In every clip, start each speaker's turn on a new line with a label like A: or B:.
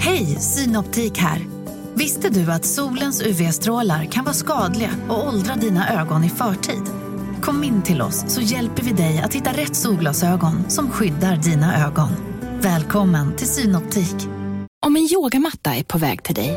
A: Hej, Synoptik här. Visste du att solens UV-strålar kan vara skadliga och åldra dina ögon i förtid? Kom in till oss så hjälper vi dig att hitta rätt solglasögon som skyddar dina ögon. Välkommen till Synoptik.
B: Om en yogamatta är på väg till dig,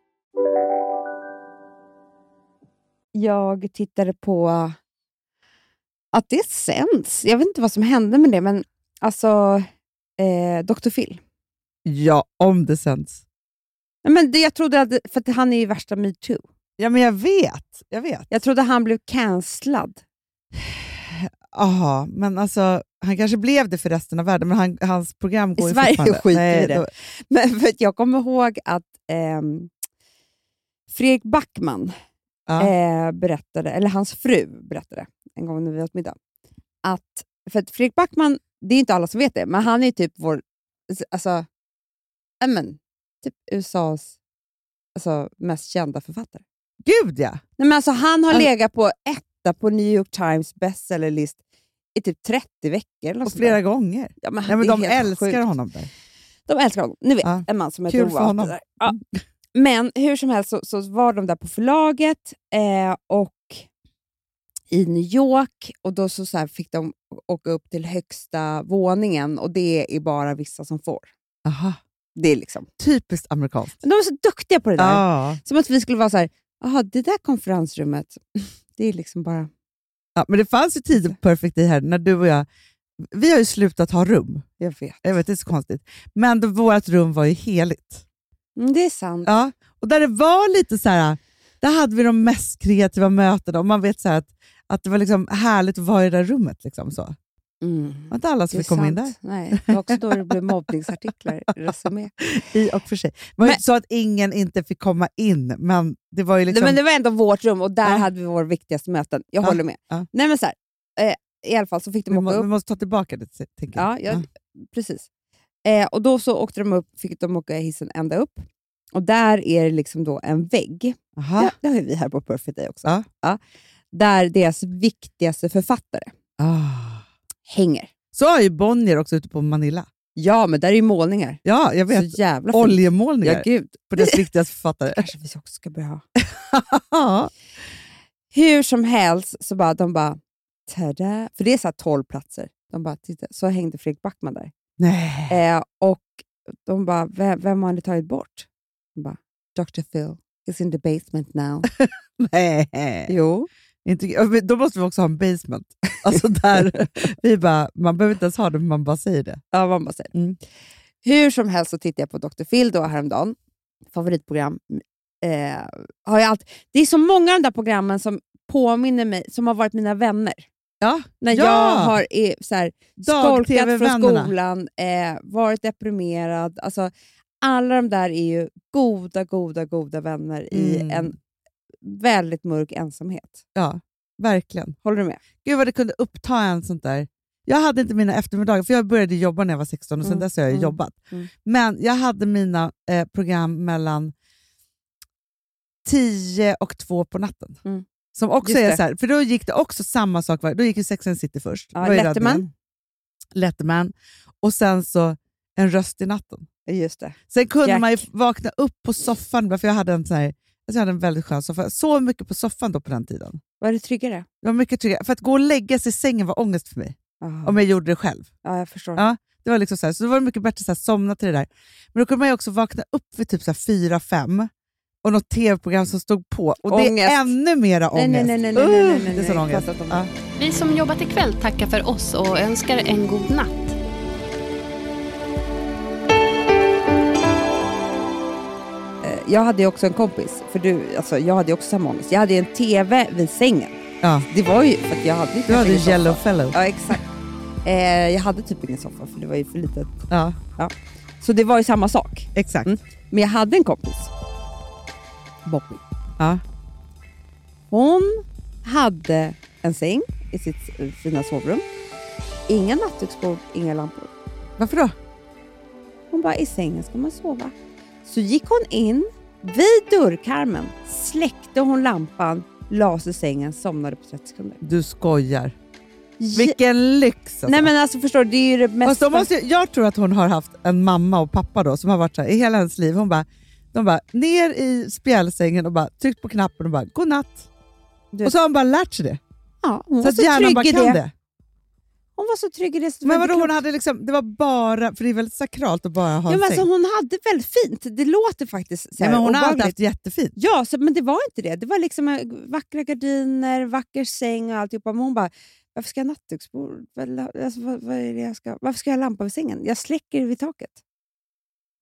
C: jag tittade på att det sänds. Jag vet inte vad som hände med det, men alltså eh, Dr. Phil.
D: Ja, om det sänds.
C: Nej, Men det, jag trodde att, för att han är ju värsta metoo.
D: Ja, men jag vet. Jag vet.
C: Jag trodde han blev cancellad.
D: Aha, men alltså, han kanske blev det för resten av världen, men han, hans program går ju
C: Sverige
D: fortfarande.
C: skiter
D: Nej,
C: i det.
D: då-
C: Men för att jag kommer ihåg att ehm, Fredrik Backman
D: ja.
C: eh, berättade, eller hans fru berättade en gång när vi åt middag, att, för att Fredrik Backman, det är inte alla som vet det, men han är typ vår, alltså, ja, men, typ USAs alltså, mest kända författare.
D: Gud ja!
C: Nej, men alltså, han har
D: Han-
C: legat på etta på New York Times bestsellerlist i typ 30 veckor. Eller något
D: Och
C: sånt där.
D: flera gånger.
C: ja, men,
D: Nej, men
C: det är
D: de
C: helt
D: älskar
C: sjukt.
D: honom där.
C: De älskar honom. Ni vet,
D: Ja.
C: en man som heter
D: Kul för
C: Roa.
D: honom. Mm.
C: Sådär. Ja. Men hur som helst så, så var de där på förlaget eh, och i New York och då så, så här fick de åka upp till högsta våningen och det är bara vissa som får.
D: Aha.
C: Det är liksom.
D: Typiskt amerikanskt.
C: Men De är så duktiga på det där.
D: Ja.
C: Som att vi skulle vara så här, jaha, det där konferensrummet, det är liksom bara...
D: Ja, men det fanns ju tider på Perfect Day här när du och jag, vi har ju slutat ha rum.
C: Jag vet.
D: Jag vet, det är så konstigt. Men då, vårt rum var ju heligt.
C: Mm, det är sant.
D: Ja, och där det var lite så här, där hade vi de mest kreativa mötena och man vet så här att, att det var liksom härligt att vara i det där rummet. Liksom så. Det
C: Mm.
D: var inte alla
C: Det
D: som
C: är
D: fick komma Alltså, in där.
C: sant. Nej, det var också då det blev mobbningsartiklar, resumé.
D: I och för sig. Det var ju
C: Men-
D: inte så att ingen inte fick komma in, men det var ju liksom...
C: Men det var ändå vårt rum och där
D: Ja.
C: hade vi vår viktigaste möten. Jag
D: Ja,
C: håller med.
D: ja.
C: Nej, men så här, eh, I alla fall så fick de
D: vi,
C: åka
D: må,
C: upp.
D: vi måste ta tillbaka det, t- tänker
C: Ja, jag, Precis. Eh, och Då så åkte de upp, fick de åka hissen ända upp. Och Där är det liksom då en vägg.
D: Aha.
C: Ja, det har ju vi här på Perfect Day också.
D: Ja.
C: Där deras viktigaste författare
D: Ah.
C: hänger.
D: Så har ju Bonnier också ute på Manila.
C: Ja, men där är ju målningar.
D: Ja, jag vet.
C: Så jävla fint.
D: Oljemålningar
C: Ja, gud.
D: på deras viktigaste författare.
C: kanske vi också ska börja ha.
D: Ja.
C: Hur som helst så bara de bara, tada, för det är så här 12 platser. De bara, titta, så hängde Fredrik Backman där.
D: Nej.
C: Eh, och de bara, vem, vem har ni tagit bort? De bara, Dr. Phil is in the basement now.
D: Nej.
C: jo.
D: Inte, ja, men då måste vi också ha en basement. Alltså där, vi bara, man behöver inte ens ha det, men man bara säger det.
C: Ja, man bara säger.
D: Mm.
C: Hur som helst så tittade jag på Dr. Phil då häromdagen. Favoritprogram. Eh, har jag allt. Det är så många av de där programmen som påminner mig, som har varit mina vänner.
D: Ja.
C: När
D: Ja.
C: jag har är, så här, skolkat från
D: Dag-tv-vännerna.
C: skolan, eh, varit deprimerad. Alltså, alla de där är ju goda, goda, goda vänner i
D: Mm.
C: en väldigt mörk ensamhet.
D: Ja, verkligen.
C: Håller du med?
D: Gud vad det kunde uppta en sånt där. Jag hade inte mina eftermiddagar, för jag började jobba när jag var 16 och sen
C: Mm,
D: dess har jag ju
C: mm,
D: jobbat.
C: mm.
D: Men jag hade mina eh, program mellan 10 och 2 på natten.
C: Mm.
D: Som också
C: Just
D: är
C: det.
D: så här, för då gick det också samma sak, var- då gick ju Sex and the City först.
C: Ja,
D: Det var ju
C: Letterman.
D: räddningen. Letterman. Och sen så En röst i natten.
C: Just det.
D: Sen kunde
C: Jack.
D: man ju vakna upp på soffan, ibland, för jag hade en, så här, alltså jag hade en väldigt skön soffa. Jag sov mycket på soffan då på den tiden.
C: Var det tryggare?
D: Det var mycket tryggare. För att gå och lägga sig i sängen var ångest för mig om
C: Mm.
D: jag gjorde det själv.
C: Ja, jag förstår.
D: Ja. Det var liksom så, här, så det var det mycket bättre att så här, somna till det där. Men då kunde man ju också vakna upp vid typ så här fyra, fem och något tv-program som stod på. Och det
C: Ångest.
D: är ännu mera
C: Nej,
D: ångest.
C: nej, nej, nej, nej, nej, nej,
D: Uh,
C: nej,
D: det är sån
C: nej,
D: ångest.
C: pratat om det.
D: Ja.
E: Vi som jobbat ikväll tackar för oss och önskar en god natt.
C: Eh, Jag hade ju också en kompis, för du, alltså, jag hade ju också samma ångest. Jag hade ju en TV vid sängen.
D: Ja.
C: Det var ju för att jag hade ju
D: Du hade
C: ingen
D: ju
C: soffa.
D: Yellowfellow.
C: Ja, exakt. Eh, jag hade typ ingen soffa för det var ju för litet.
D: Ja,
C: Så det var ju samma sak.
D: exakt.
C: Mm. Men jag hade en kompis Bobby.
D: Ja.
C: Hon hade en säng i sitt eh, fina sovrum. Inga nattduksbord, inga lampor.
D: Varför då?
C: Hon bara, i sängen ska man sova. Så gick hon in, vid dörrkarmen släckte hon lampan, la sig i sängen, somnade på 30 sekunder.
D: Du skojar.
C: Je-
D: Vilken lyx alltså.
C: Nej men alltså förstår du, det är ju det mest...
D: Fast de måste, ju- jag tror att hon har haft en mamma och pappa då som har varit så här i hela hennes liv. Hon bara, de bara ner i spjälsängen och bara tryckt på knappen och bara godnatt.
C: Du-
D: Och så har hon bara lärt sig det.
C: ja, hon
D: Så
C: var
D: att
C: så
D: hjärnan
C: trygg
D: bara
C: i
D: kan det.
C: Hon var så trygg i det. Så det
D: Men
C: var inte
D: vadå, hon
C: klokt.
D: hade liksom, det var bara, för det är väldigt sakralt att bara ha
C: ja,
D: en
C: men alltså,
D: säng.
C: Hon hade väldigt fint. Det låter faktiskt så
D: Nej,
C: här
D: men hon har alltid
C: obehagligt.
D: haft jättefint.
C: Ja, så, men det var inte det. Det var liksom eh, vackra gardiner, vacker säng och alltihopa. Men hon bara, varför ska jag ha nattduksbord? Vad- Alltså, vad, vad är det jag ska... Varför ska jag ha lampa vid sängen? Jag släcker vid taket.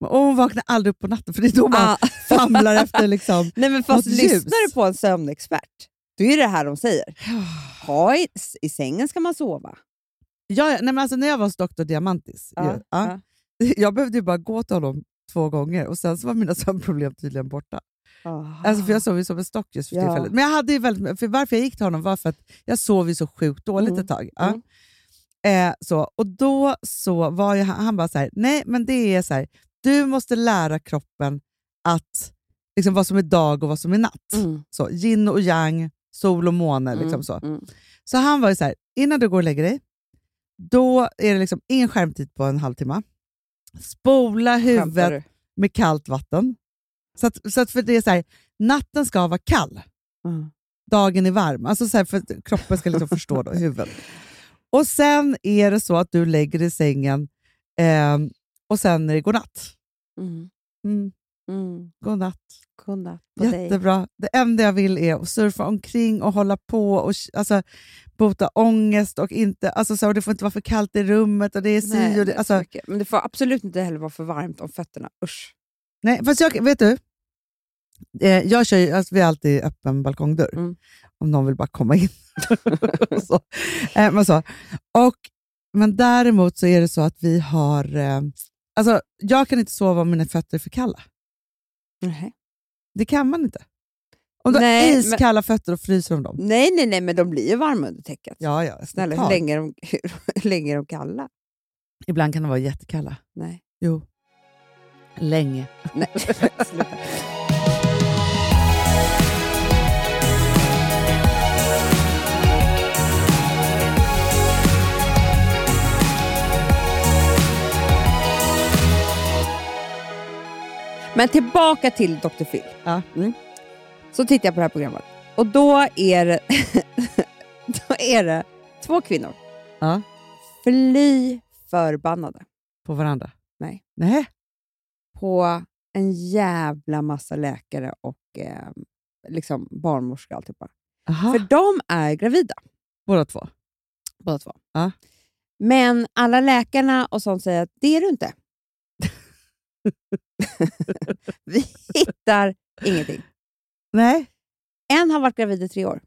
D: Och hon vaknar aldrig upp på natten för det är då man
C: Ah,
D: famlar efter liksom.
C: nej, men fast
D: något
C: lyssnar
D: ljus.
C: du på en sömnexpert, då är det här de säger. Ha i, I sängen ska man sova.
D: Ja, ja, nej, men alltså, när jag var hos Dr. Diamantis,
C: Ja,
D: ju, ja, jag behövde ju bara gå till honom två gånger och sen så var mina sömnproblem tydligen borta.
C: Ah.
D: Alltså, för jag sov ju som en stock just för
C: Ja.
D: tillfället. Men jag hade ju väldigt, för varför jag gick till honom var för att jag sov ju så sjukt dåligt
C: Mm.
D: ett tag. Ja. Eh, så, och då så var ju han, han bara så här, nej men det är så här, du måste lära kroppen att liksom, vad som är dag och vad som är natt.
C: Mm.
D: Så, yin och yang, sol och måne. Liksom
C: Mm,
D: så.
C: mm.
D: så han var ju så här, innan du går och lägger dig, då är det liksom ingen skärmtid på en halvtimme. Spola
C: Skämtar
D: huvudet
C: du?
D: med kallt vatten. Så att, så att för det är så här, natten ska vara kall,
C: Mm.
D: dagen är varm. Alltså så här, för att kroppen ska liksom förstå då, huvudet. Och sen är det så att du lägger dig i sängen ehm, och sen är det godnatt.
C: Mm.
D: Mm,
C: Mm.
D: godnatt.
C: Godnatt på dig.
D: Jättebra. Det enda jag vill är att surfa omkring och hålla på och k- alltså, bota ångest. Och inte, alltså, så, här, och det får inte vara för kallt i rummet. Och det är si
C: Nej, det
D: och det,
C: är
D: alltså,
C: så mycket. Men det får absolut inte heller vara för varmt om fötterna. Usch.
D: Nej, fast jag, vet du? Eh, jag kör ju, alltså, vi har alltid öppen balkongdörr.
C: Mm.
D: Om någon vill bara komma in. så. Eh, men, så. Och, men däremot så är det så att vi har... Eh, alltså, jag kan inte sova om mina fötter är för kalla.
C: Nej.
D: Det kan man inte. Om du
C: Nej,
D: har
C: men-
D: iskalla fötter och fryser om dem.
C: nej, nej, nej, men de blir ju varma under täcket.
D: Ja, ja.
C: Snälla,
D: totalt.
C: hur länge, är de, hur länge är de kalla?
D: Ibland kan de vara jättekalla.
C: Nej.
D: Jo. Länge.
C: nej. Sluta. Men tillbaka till Dr. Phil.
D: Ja.
C: Mm. Så tittar jag på det här programmet och då är det, då är det två kvinnor.
D: Ja.
C: Fly förbannade
D: På varandra.
C: Nej.
D: Nej.
C: på en jävla massa läkare och eh, liksom barnmorskor och alltihopa.
D: Aha.
C: För de är gravida
D: Båda två.
C: båda två.
D: Ja.
C: Men alla läkarna och sånt säger att det är du inte. Vi hittar ingenting.
D: Nej.
C: En har varit gravid i tre år.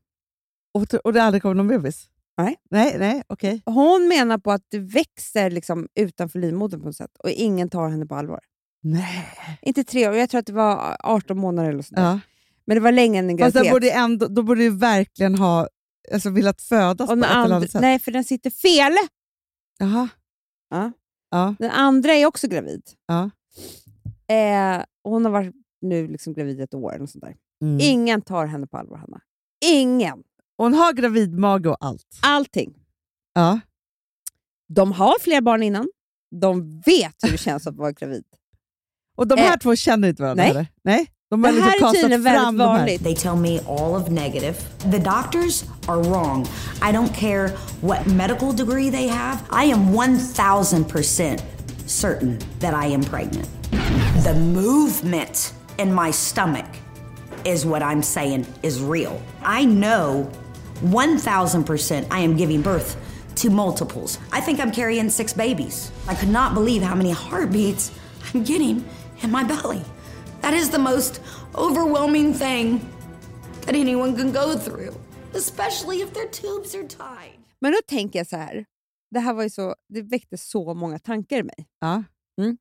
D: Och, t- och det aldrig kom någon bebis?
C: Nej.
D: Nej, nej, okej.
C: Hon menar på att det växer liksom utanför livmodern på något sätt och ingen tar henne på allvar.
D: Nej.
C: Inte tre år, jag tror att det var 18 månader eller sånt. där.
D: Ja.
C: Men det var längre än en
D: Fast den
C: graviditet.
D: borde ju ändå, då borde ju verkligen ha alltså, velat födas
C: Och
D: på
C: den
D: ett eller
C: andra,
D: annat sätt.
C: nej, för den sitter fel.
D: Jaha.
C: Ja.
D: Ja.
C: Den andra är också gravid.
D: Ja.
C: Eh, hon har varit nu liksom gravid i ett år. Eller något sånt där.
D: Mm.
C: Ingen tar henne på allvar, Hanna. Ingen.
D: Och hon har gravidmage och allt.
C: Allting.
D: Ja.
C: De har fler barn innan. De vet hur det känns att vara gravid.
D: Och de
C: Eh.
D: här två känner inte varandra?
C: Nej.
D: Eller? nej. De
C: Det
D: har liksom
C: här är
D: kastat
C: tydligen
D: fram
C: väldigt
D: de här.
C: vanligt.
F: They tell me all of negative. The doctors are wrong. I don't care what medical degree they have. I am 1000% certain that I am pregnant. The movement in my stomach is what I'm saying is real. I know 1000% I am giving birth to multiples. I think I'm carrying six babies. I could not believe how many heartbeats I'm getting in my belly. That is the most overwhelming thing that anyone can go through, especially if their tubes are tied.
C: Men då tänker jag så här. Det här var ju så, det väckte så många tankar i mig. Mm.
D: Ja.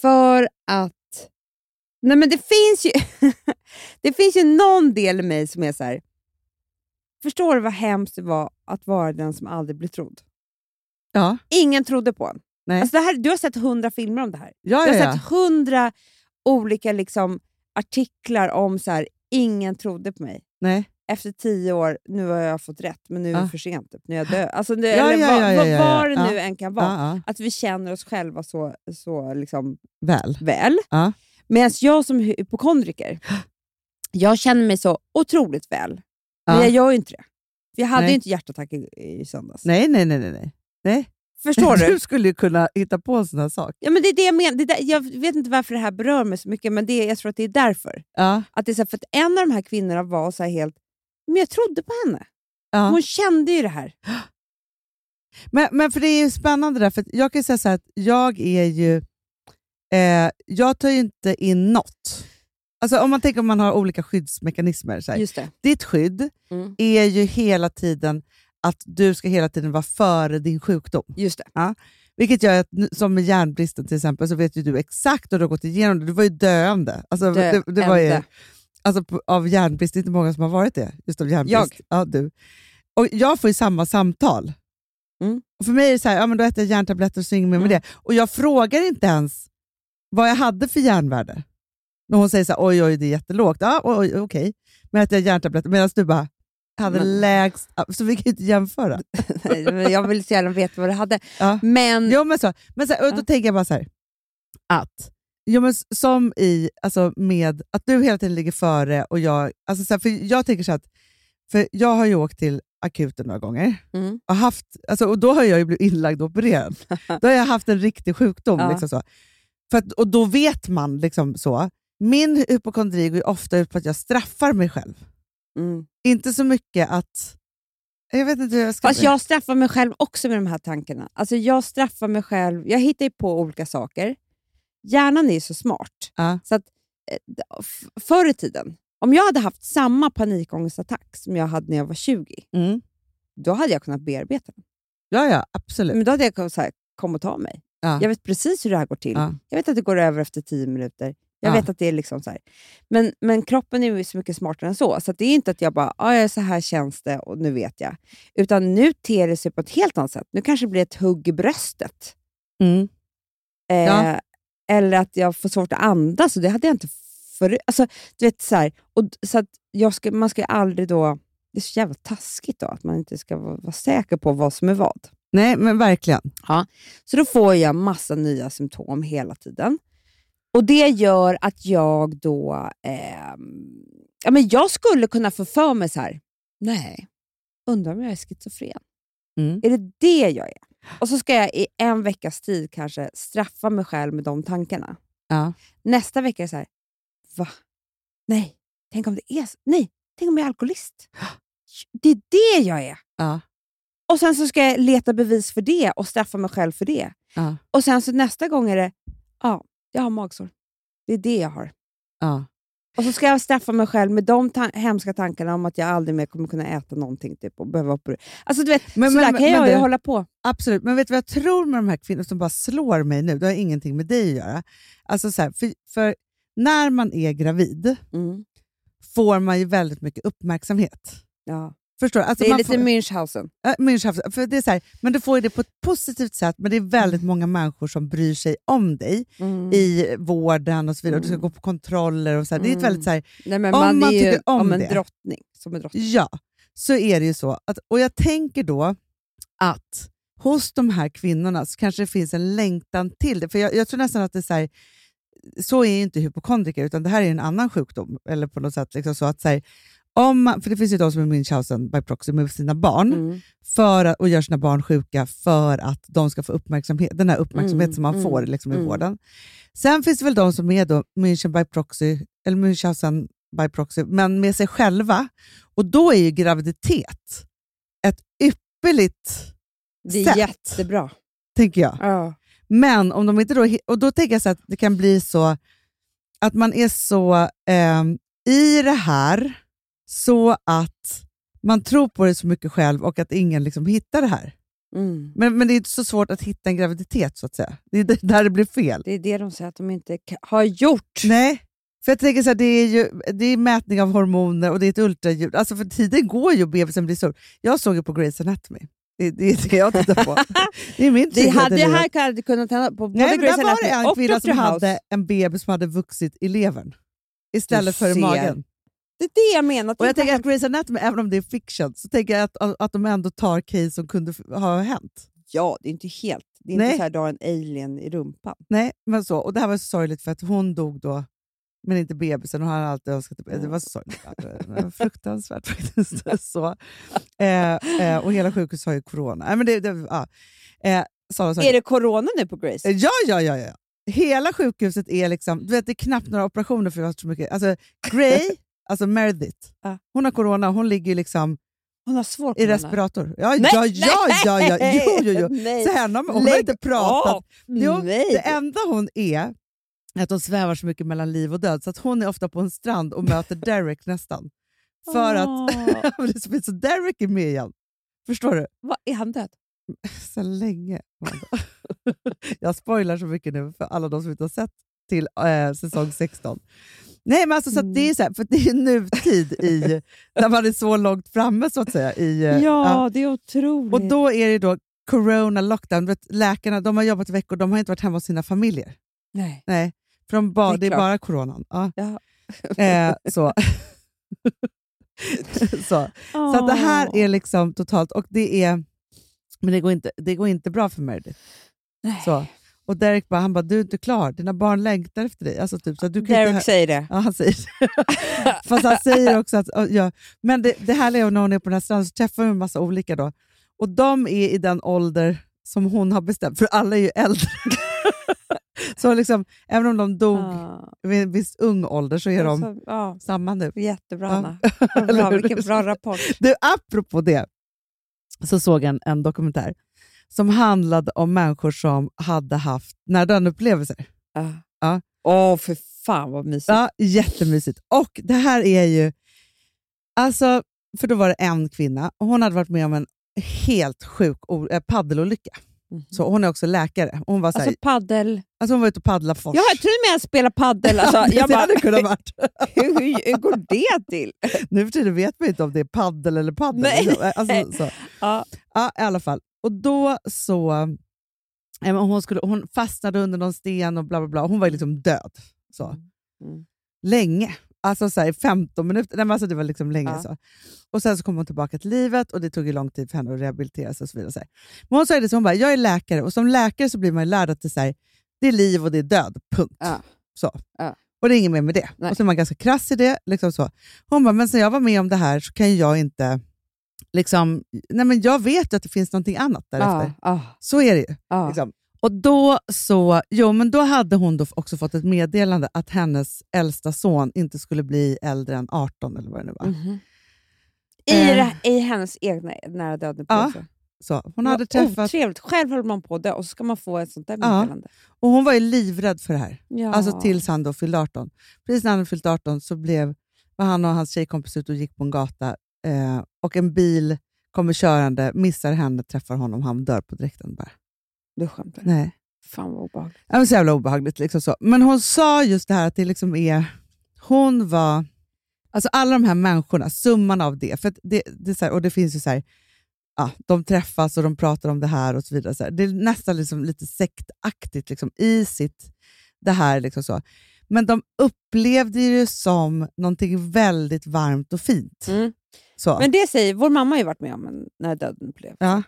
C: För att... Nej men det finns ju... Det finns ju någon del i mig som är så här. förstår du vad hemskt det var att vara den som aldrig blir trodd?
D: Ja,
C: Ingen trodde på en.
D: Nej.
C: Alltså det här, du har sett hundra filmer om det här.
D: ja,
C: Jag
D: ja.
C: har
D: ja.
C: sett hundra olika liksom, artiklar om så här, ingen trodde på mig.
D: Nej.
C: Efter tio år, nu har jag fått rätt, men nu är det
D: Ja.
C: för sent. Typ, nu är jag död. Alltså, det,
D: Ah. Ja,
C: eller
D: ja,
C: vad,
D: ja, ja,
C: vad,
D: ja,
C: vad
D: ja. Ah.
C: det nu än kan vara.
D: Ja, ja.
C: Att vi känner oss själva så, så liksom,
D: Väl.
C: väl.
D: Ja.
C: Medan jag som hypokondriker, jag känner mig så otroligt väl. Men
D: Ja.
C: jag gör ju inte det. För jag hade
D: Ah. Nej.
C: ju inte hjärtattack i, i söndags.
D: Nej, nej, nej, nej, nej. nej.
C: Förstår du?
D: skulle ju kunna hitta på en sån här sak.
C: Ja, men det är det jag, menar. Det där, jag vet inte varför det här berör mig så mycket, men det, jag tror att det är därför.
D: Ja,
C: Att det är så här, för att en av de här kvinnorna var så här helt... Men jag trodde på henne.
D: ja.
C: Hon kände ju det här.
D: Men, men för det är ju spännande där, för att jag kan ju säga så här att jag är ju... Eh, jag tar ju inte in något. Alltså om man tänker om man har olika skyddsmekanismer. Så här.
C: Just det.
D: Ditt skydd
C: Mm.
D: är ju hela tiden att du ska hela tiden vara före din sjukdom.
C: Just det.
D: Vilket gör att, nu- som med hjärnbristen till exempel, så vet ju du exakt och du har gått igenom det. Du var ju döende. Alltså,
C: Döende.
D: det, det var ju, alltså, på, av hjärnbrist, det är inte många som har varit det. Just av hjärnbrist. Jag. Ja, du. Och jag får ju samma samtal.
C: Mm.
D: Och för mig är det så här, ja, men då äter jag järntabletter och så inget mer med det. Och jag frågar inte ens vad jag hade för järnvärde. När hon säger så här, oj oj det är jättelågt. Ja, oj, oj, okej. Men äter jag järntabletter medan du bara, hade
C: Men-
D: lägst, så vi kan ju inte jämföra.
C: Nej, men jag vill så gärna veta vad du hade.
D: Ja.
C: Men
D: Jo, men så. Men så här, och då
C: Ja.
D: tänker jag bara så här, att jo, men s- som i, alltså med att du hela tiden ligger före och jag, alltså så här, för jag tänker så här att, för jag har ju åkt till akuten några gånger
C: Mm.
D: och, haft, alltså, och då har jag ju blivit inlagd och opererad. då har jag haft en riktig sjukdom.
C: Ja.
D: Liksom så. För att, och då vet man liksom så. Min hypokondri går ju ofta ut på att jag straffar mig själv.
C: mm.
D: Inte så mycket att... Jag vet inte hur jag ska...
C: Fast jag straffar mig själv också med de här tankarna. Alltså jag straffar mig själv. Jag hittar ju på olika saker. Hjärnan är ju så smart.
D: Ja.
C: Så att, eh, d- f- förr i tiden, om jag hade haft samma panikångestattack som jag hade när jag var 20,
D: Mm.
C: då hade jag kunnat bearbeta den.
D: Ja, ja, absolut.
C: Men då hade jag kunnat säga, kom och ta mig.
D: Ja.
C: Jag vet precis hur det här går till.
D: Ja.
C: Jag vet att det går över efter tio minuter. Jag
D: Ja.
C: vet att det är liksom så här. Men, men kroppen är ju så mycket smartare än så. Så att det är inte att jag bara, ah, ja, så här känns det och nu vet jag. Utan nu ter det sig på ett helt annat sätt. Nu kanske det blir ett hugg i bröstet.
D: Mm.
C: Eh,
D: Ja.
C: Eller att jag får svårt att andas och det hade jag inte förut. Alltså, du vet, så här, och, d- så att jag ska, man ska ju aldrig då... Det är så jävla taskigt då att man inte ska vara, vara säker på vad som är vad.
D: Nej, men verkligen.
C: Så då får jag massa nya symptom hela tiden. Och Det gör att jag då... ehm, ja, men jag skulle kunna få för mig så här, nej, undrar om jag är schizofren.
D: Mm.
C: Är det det jag är? Och så ska jag i en veckas tid kanske straffa mig själv med de tankarna.
D: Ja.
C: Nästa vecka är det så här, va? Nej, tänk om det är så. Nej, tänk om jag är alkoholist. Det är det jag är.
D: Ja.
C: Och sen så ska jag leta bevis för det och straffa mig själv för det.
D: Ja.
C: Och sen så nästa gång är det, ja, jag har magsår. Det är det jag har.
D: Ja.
C: Och så ska jag straffa mig själv med de ta- hemska tankarna om att jag aldrig mer kommer kunna äta någonting. Typ, och behöva operera. Alltså du vet,
D: Men-
C: sådär
D: men-
C: kan jag
D: men
C: ju
D: det-
C: hålla på.
D: Absolut, men vet du vad jag tror med de här kvinnorna som bara slår mig nu? Det har ingenting med dig att göra. Alltså så här, för, för när man är gravid får man ju väldigt mycket uppmärksamhet.
C: Ja.
D: Förstår du? Alltså
C: Det är
D: man
C: lite
D: får,
C: Münchhausen.
D: Ja, Münchhausen. för det är så här, men du får ju det på ett positivt sätt, men det är väldigt
C: Mm.
D: många människor som bryr sig om dig i vården och så vidare. Och Du
C: Mm.
D: ska gå på kontroller och så här. Det är ett väldigt så här,
C: Nej, men
D: Om
C: man,
D: man
C: är ju
D: tycker om
C: en
D: det.
C: drottning. Som en drottning.
D: Ja, så är det ju så. Att, och jag tänker då att hos de här kvinnorna så kanske det finns en längtan till det. För jag, jag tror nästan att det är så här, så är ju inte hypokondriker, utan det här är en annan sjukdom. Eller på något sätt liksom så att så här, om man, för det finns ju de som är Münchhausen by proxy med sina barn
C: Mm.
D: för att, och gör sina barn sjuka för att de ska få uppmärksamhet, den här uppmärksamhet
C: Mm,
D: som man
C: mm,
D: får liksom, i
C: mm.
D: vården. Sen finns det väl de som är då München by proxy, eller Münchhausen by proxy, men med sig själva. Och då är ju graviditet ett ypperligt
C: Det är
D: sätt,
C: jättebra.
D: tänker jag.
C: Ja.
D: Men om de inte då, och då tänker jag så att det kan bli så att man är så ehm, i det här så att man tror på det så mycket själv och att ingen liksom hittar det här.
C: Mm.
D: Men, men det är inte så svårt att hitta en graviditet så att säga. Det är det- där det blir fel.
C: Det är det de säger att de inte ka- har gjort.
D: Nej, För jag tänker så här, det är ju det är mätning av hormoner och det är ett ultraljud. Alltså för tiden går ju och bebisen blir stor. Jag såg ju på Grey's Anatomy. Det, det är det jag tittar på. det är min
C: Det
D: trygghet i
C: hade jag
D: livet.
C: här hade kunnat tända på både
D: Nej, men
C: Grey's
D: där var det
C: Anatomy
D: en
C: och
D: kvinna
C: Dr.
D: som
C: House.
D: hade en bebis som hade vuxit i levern istället
C: Du
D: för i
C: ser.
D: magen.
C: Det är det jag menar.
D: Och jag tänker att Grey's Anatomy, även om det är fiction, så tänker jag att, att de ändå tar case som kunde f- ha hänt.
C: Ja, det är inte helt... Det är
D: Nej.
C: inte så här du har en alien i rumpan.
D: Nej, men så. Och det här var så sorgligt för att hon dog då, men inte bebisen. Och han hade alltid önskat Det var så sorgligt. Det var Fruktansvärt faktiskt. så. Eh, eh, och hela sjukhuset har ju corona. Nej, men det, det, ja. eh, sådana saker.
C: Är det corona nu på Grace?
D: Ja, ja, ja. ja. Hela sjukhuset är liksom... Du vet, det är knappt några operationer för jag har så mycket. Alltså, Grey, alltså Meredith,
C: Ja.
D: hon har corona. Hon ligger ju liksom
C: Hon har svår
D: i
C: corona.
D: respirator. Ja,
C: Nej,
D: ja, ja, ja, ja. Jo, jo, jo.
C: Nej.
D: Så henne, har- hon har
C: Lägg
D: inte pratat.
C: av.
D: Jo,
C: Mm, Nej.
D: Det enda hon är är att hon svävar så mycket mellan liv och död så att hon är ofta på en strand och möter Derek nästan. För att...
C: Åh.
D: det är så fint, så Derek är med igen. Förstår du?
C: Vad, är han död?
D: så länge. Amanda. jag spoilar så mycket nu för alla de som inte har sett till eh, säsong 16. Nej, men alltså, så att det är
C: Mm.
D: så här, för det är nutid i, när man är så långt framme så att säga. I, eh, ja.
C: det är otroligt.
D: Och då är det då corona lockdown. Du Vet, läkarna de har jobbat veckor, de har inte varit hemma hos sina familjer.
C: Nej.
D: Nej, för de ba,
C: Det
D: det,
C: är
D: är
C: klart.
D: bara coronan. Ja.
C: Ja.
D: Eh, så. så. Så att det här
C: Ah.
D: är liksom totalt... Och det är, men det går, inte, det går inte bra för Meredith.
C: Nej.
D: Så. Och Derek bara, han bara, du är inte klar. Dina barn längtar efter dig. Alltså, typ, så att du kan
C: Derek
D: inte...
C: säger det.
D: Ja, han säger det. Fast han säger också att... Ja. Men det, det här är när hon är på den här stranden så träffar hon en massa olika. då. Och de är i den ålder som hon har bestämt, för alla är ju äldre. så liksom, även om de dog
C: Ja.
D: vid en viss ung ålder så är de
C: Ah. Alltså, ja.
D: samma nu.
C: Jättebra,
D: Ja.
C: Anna. Vad Bra,
D: hur?
C: vilken bra rapport.
D: Du, apropå det, så såg jag en, en dokumentär som handlade om människor som hade haft nära-döden-upplevelser.
C: Ja.
D: Ja.
C: Åh, för fan vad mysigt.
D: Ja, jättemysigt. Och det här är ju... Alltså, för då var det en kvinna och hon hade varit med om en helt sjuk o- eh, paddelolycka.
C: Mhm.
D: Så hon är också läkare. Hon var, så här,
C: Alltså
D: alltså,
C: paddel.
D: hon var ute och paddlade fors.
C: Ja, jag trodde med att spela paddel. Alltså,
D: det
C: jag bara,
D: hade kunnat varit.
C: hur, hur går det till?
D: Nu för tiden vet man inte om det är paddel eller paddel.
C: Nej.
D: Liksom. Alltså, så.
C: Ja.
D: Ja, i alla fall. Och då så... eh, men Hon, skulle, hon fastnade under någon sten och bla bla bla. Hon var ju liksom död. Så.
C: Mm.
D: Länge. Alltså så här, 15 minuter. Nej, men alltså det var liksom länge.
C: Ja.
D: Så. Och sen så kom hon tillbaka till livet och det tog ju lång tid för henne att rehabilitera sig. Och så vidare, och så här. Men hon sa ju det så, hon bara, jag är läkare och som läkare så blir man ju lärd att det är, så här, det är liv och det är död. Punkt.
C: Ja.
D: Så.
C: Ja.
D: Och det är inget mer med det.
C: Nej.
D: Och så är man ganska krass i det. Liksom så. Hon bara, men sen jag var med om det här så kan ju jag inte... Liksom, nej men jag vet ju att det finns någonting annat därefter.
C: Ja, ah, ja,
D: Så är det ju.
C: ja.
D: Liksom. Och då så, jo, men då hade hon då också fått ett meddelande att hennes äldsta son inte skulle bli äldre än 18 eller vad det nu var.
C: Mhm. I,
D: Eh.
C: det- I hennes egna nära döden
D: Ja, Så hon hade träffat,
C: Otrevligt. Själv håller man på det och så ska man få ett sånt där
D: Ja.
C: meddelande.
D: och hon var ju livrädd för det här.
C: Ja.
D: Alltså tills han då fyllde 18. Precis när han hade fyllt 18 så blev, var han och hans tjejkompis ute och gick på en gata eh, och en bil kommer körande, missar henne, träffar honom, han dör på direkten bara.
C: Du skämtar?
D: Nej.
C: Fan vad obehagligt.
D: Ja, men så jävla obehagligt. Liksom så. Men hon sa just det här att det liksom är... Hon var... Alltså alla de här människorna, summan av det. För att det, det, är så här, och det finns ju så här, ja, de träffas och de pratar om det här och så vidare. Så här. Det är nästan liksom lite sektaktigt liksom, i sitt... Det här liksom så. Men de upplevde ju det som någonting väldigt varmt och fint.
C: Mm.
D: Så.
C: Men det säger, vår mamma har ju varit med om en nära döden upplevelse.
D: ja.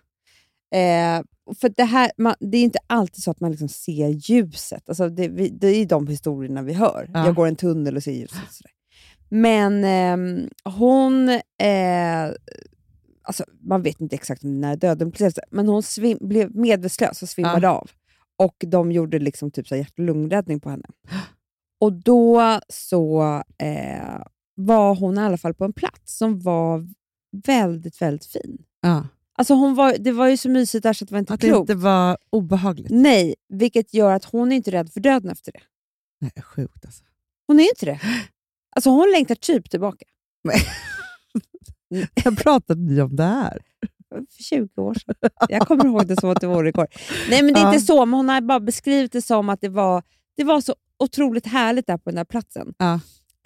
C: Eh, för det, här, man, det är inte alltid så att man liksom ser ljuset. Alltså det, vi, det är de historierna vi hör.
D: Ja.
C: Jag går en tunnel och ser ljuset. Sådär. Men ehm, hon... Eh, alltså, man vet inte exakt om det är nära döden upplevelse, men hon svim, blev medvetslös och svimmade av. Och de gjorde liksom typ så här hjärt och lungräddning på henne. Och då så eh, var hon i alla fall på en plats som var väldigt, väldigt fin.
D: Ja.
C: Alltså hon var, det var ju så mysigt där så att det var inte
D: Att det
C: klokt.
D: inte var obehagligt.
C: Nej, vilket gör att hon är inte rädd för döden efter det.
D: Nej, sjukt alltså.
C: Hon är ju inte det. Alltså hon längtar typ tillbaka. Mm.
D: Jag pratade ni om det här?
C: För 20 år sedan. Jag kommer ihåg det som att det vore igår. Nej, men det är
D: Ja.
C: inte så, men hon har bara beskrivit det som att det var, det var så otroligt härligt där på den där platsen.
D: Ja.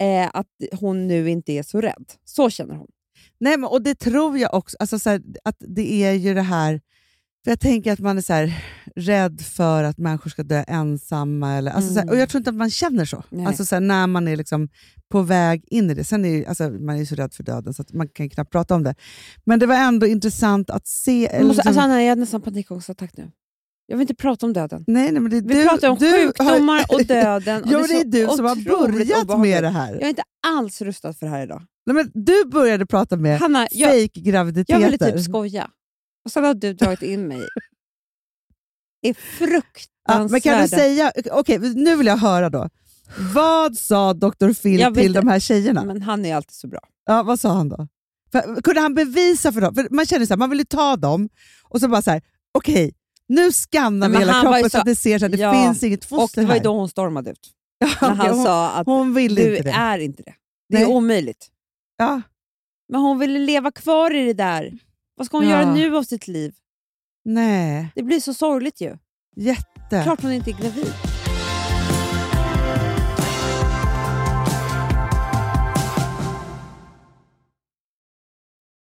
C: Eh, att hon nu inte är så rädd. Så känner hon.
D: Nej, men, och det tror jag också. Alltså, så här, att det är ju det här... För Jag tänker att man är så här, rädd för att människor ska dö ensamma. Eller, alltså, så här,
C: Mm.
D: och Jag tror inte att man känner så.
C: Nej.
D: Alltså, så här, när man är liksom på väg in i det. Sen är ju, alltså, man är ju så rädd för döden så att man kan knappt prata om det. Men det var ändå intressant att se.
C: Jag
D: Eller,
C: måste,
D: liksom-
C: alltså, Anna, jag har nästan panikångestattack nu. Jag vill inte prata om döden.
D: nej, nej, men det är
C: Vi
D: du,
C: pratar om
D: du har-
C: sjukdomar och döden. Och
D: Jo, det
C: så
D: är du som har
C: otroligt
D: börjat
C: obehagligt.
D: med det här.
C: Jag är inte alls rustad för det här idag.
D: Nej, men du började prata med
C: Hanna, jag,
D: fejkgraviditeter.
C: jag ville typ skoja. Och sen har du dragit in mig i
D: Ja,
C: fruktansvärda...
D: men kan du säga, okej nu vill jag höra då. Vad sa Dr. Phil
C: Jag vet
D: till de
C: inte.
D: här tjejerna?
C: Men han är alltid så bra.
D: Ja, vad sa han då? För, kunde han bevisa för dem? För man känner så här, man vill ju ta dem och så bara så här, okej, nu skannar
C: Nej,
D: vi
C: men
D: hela
C: han var ju
D: kroppen så,
C: så-
D: att det ser så att det
C: Ja,
D: finns inget
C: Och
D: foster
C: det var ju
D: här.
C: då hon stormade ut.
D: Ja,
C: När
D: okej,
C: han
D: hon,
C: sa att
D: hon vill
C: du
D: inte det.
C: är inte det. Det är
D: Nej.
C: omöjligt.
D: Ja.
C: Men hon ville leva kvar i det där. Vad ska hon
D: Ja.
C: göra nu av sitt liv?
D: Nej,
C: Det blir så sorgligt ju.
D: jätte.
C: Klart hon inte är gravid.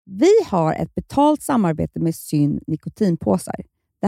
C: Vi har ett betalt samarbete med Syn nikotinpåsar. Det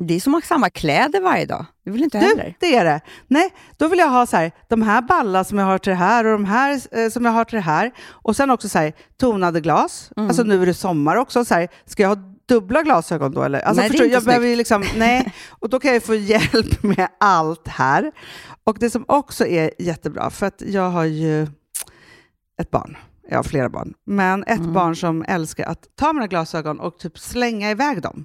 C: Det är som att ha samma kläder varje dag. Det vill inte jag
D: Du,
C: heller.
D: det är det. Nej, då vill jag ha så här, de här balla som jag har till det här och de här eh, som jag har till det här. Och sen också så här, tonade glas.
C: Mm.
D: Alltså nu är det sommar också. Så här, ska jag ha dubbla glasögon då eller? Alltså,
C: Nej, det är
D: förstår du,
C: inte
D: jag behöver ju liksom, nej. Och då kan jag ju få hjälp med allt här. Och det som också är jättebra, för att jag har ju ett barn. Jag har flera barn. Men ett
C: Mm.
D: barn som älskar att ta mina glasögon och typ slänga iväg dem.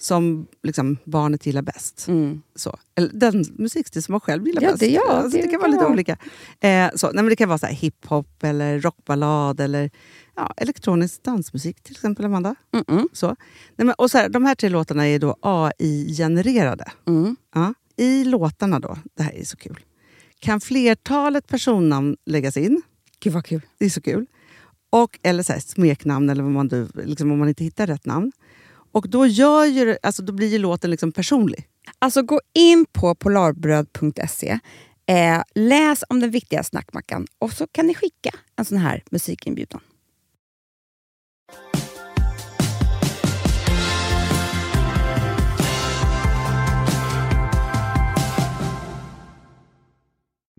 D: som liksom, barnet gillar bäst.
G: Mm.
D: Så. Eller den musikstil som man själv gillar
G: Ja,
D: bäst.
G: det- ja,
D: alltså, det,
G: det
D: kan
G: kan
D: vara lite
G: vara.
D: olika. Eh, så. Nej, men det kan vara så här hiphop, eller rockballad eller ja, elektronisk dansmusik till exempel, Amanda.
G: Mm-mm.
D: Så. Nej, men, och så här, de här tre låtarna är då AI-genererade.
G: Mm.
D: Ja. I låtarna då, det här är så kul, kan flertalet personnamn läggas in.
G: Gud vad kul.
D: Det är så kul. Och, eller så här, smeknamn, eller vad man, nu- liksom, om man inte hittar rätt namn. Och då, gör ju, det- alltså, då blir ju låten liksom personlig.
G: Alltså gå in på polarbröd.se, eh, läs om den viktiga snackmackan och så kan ni skicka en sån här musikinbjudan.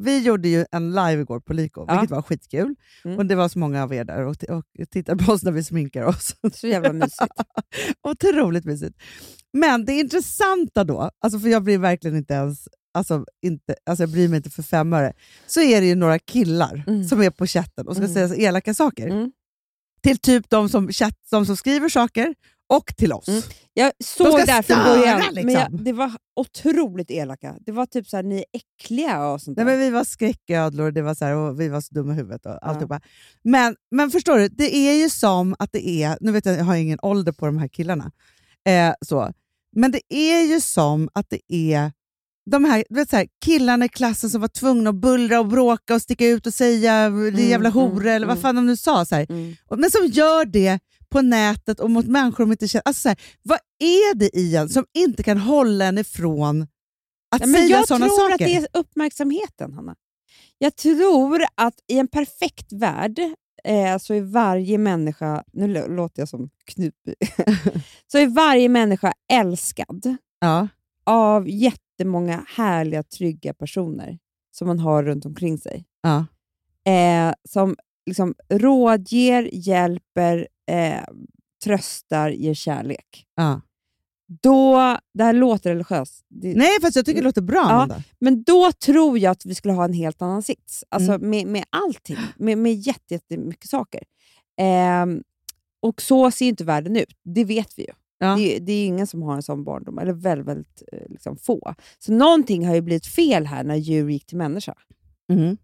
D: Vi gjorde ju en live igår på Lyko,
G: Ja.
D: vilket var skitkul.
G: Mm.
D: Och Det var så många av er där och, t- och tittade på oss när vi sminkar oss.
G: Så jävla mysigt.
D: Otroligt mysigt. Men det intressanta då, alltså för jag blir verkligen inte ens... Alltså, inte, alltså jag bryr mig inte för fem öre. Så är det ju några killar
G: Mm.
D: som är på chatten och ska
G: Mm.
D: säga så elaka saker.
G: Mm.
D: Till typ de som, chatt, de som skriver saker och till oss.
G: Mm. Jag såg
D: ska
G: det här från
D: störa,
G: början, men
D: liksom.
C: jag, det var otroligt elaka. Det var typ så här, ni är äckliga och sånt
D: Nej,
C: där.
D: men vi var skräcködlor och, det var så här, och vi var så dumma i huvudet. Och alltihopa. Men, men förstår du, det är ju som att det är... Nu vet jag, jag har ingen ålder på de här killarna. Eh, så. Men det är ju som att det är de här, du vet, så här killarna i klassen som var tvungna att bullra och bråka och sticka ut och säga det
C: Mm,
D: jävla hora eller vad fan de nu sa. Så här. Och- Men som gör det på nätet och mot människor de inte känner. Alltså, så här, vad är det i en som inte kan hålla en ifrån att
C: Ja, men
D: säga
C: jag
D: sådana
C: tror
D: saker?
C: att det är uppmärksamheten, Hanna. Jag tror att i en perfekt värld eh, så är varje människa, nu lå- låter jag som Knutby, så är varje människa älskad
D: Ja.
C: av jättemånga härliga, trygga personer som man har runt omkring sig.
D: Ja.
C: Eh, som liksom rådger, hjälper, eh, tröstar, ger kärlek.
D: Ja.
C: Då, det här låter religiöst, det,
D: Nej, fast jag tycker det låter bra.
C: Ja.
D: Amanda.
C: men då tror jag att vi skulle ha en helt annan sits. Alltså med, med allting. Med, med jätte, jättemycket saker. Ehm, och så ser ju inte världen ut. Det vet vi ju.
D: Ja.
C: Det, är- det är ju ingen som har en sån barndom, eller väldigt, väldigt eh, liksom få. Så någonting har ju blivit fel här när djur gick till människa. Mm-hmm.
D: Mm.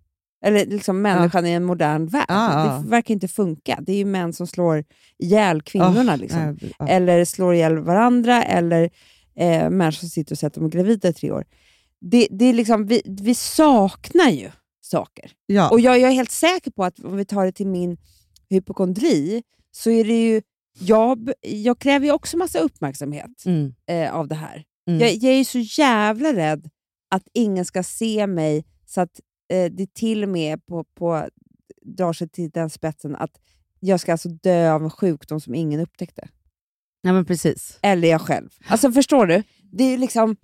C: Eller liksom människan i en modern värld.
D: Ja, ja.
C: Det verkar inte funka. Det är ju män som slår ihjäl kvinnorna.
D: Ah,
C: liksom
D: nej, ja.
C: eller slår ihjäl varandra, eller eh, människor som sitter och säger att de är gravida i tre år. Det, det är liksom, vi, vi saknar ju saker.
D: Ja.
C: Och jag, jag är helt säker på att om vi tar det till min hypokondri, så är det ju... Jag, b- jag kräver ju också massa uppmärksamhet
D: Mm.
C: eh, av det här.
D: Mm.
C: Jag, jag är ju så jävla rädd att ingen ska se mig så att eh, det till och med på, på, drar sig till den spetsen att jag ska alltså dö av en sjukdom som ingen upptäckte
D: Nej, men precis.
C: eller jag själv. Alltså förstår du? Det är ju liksom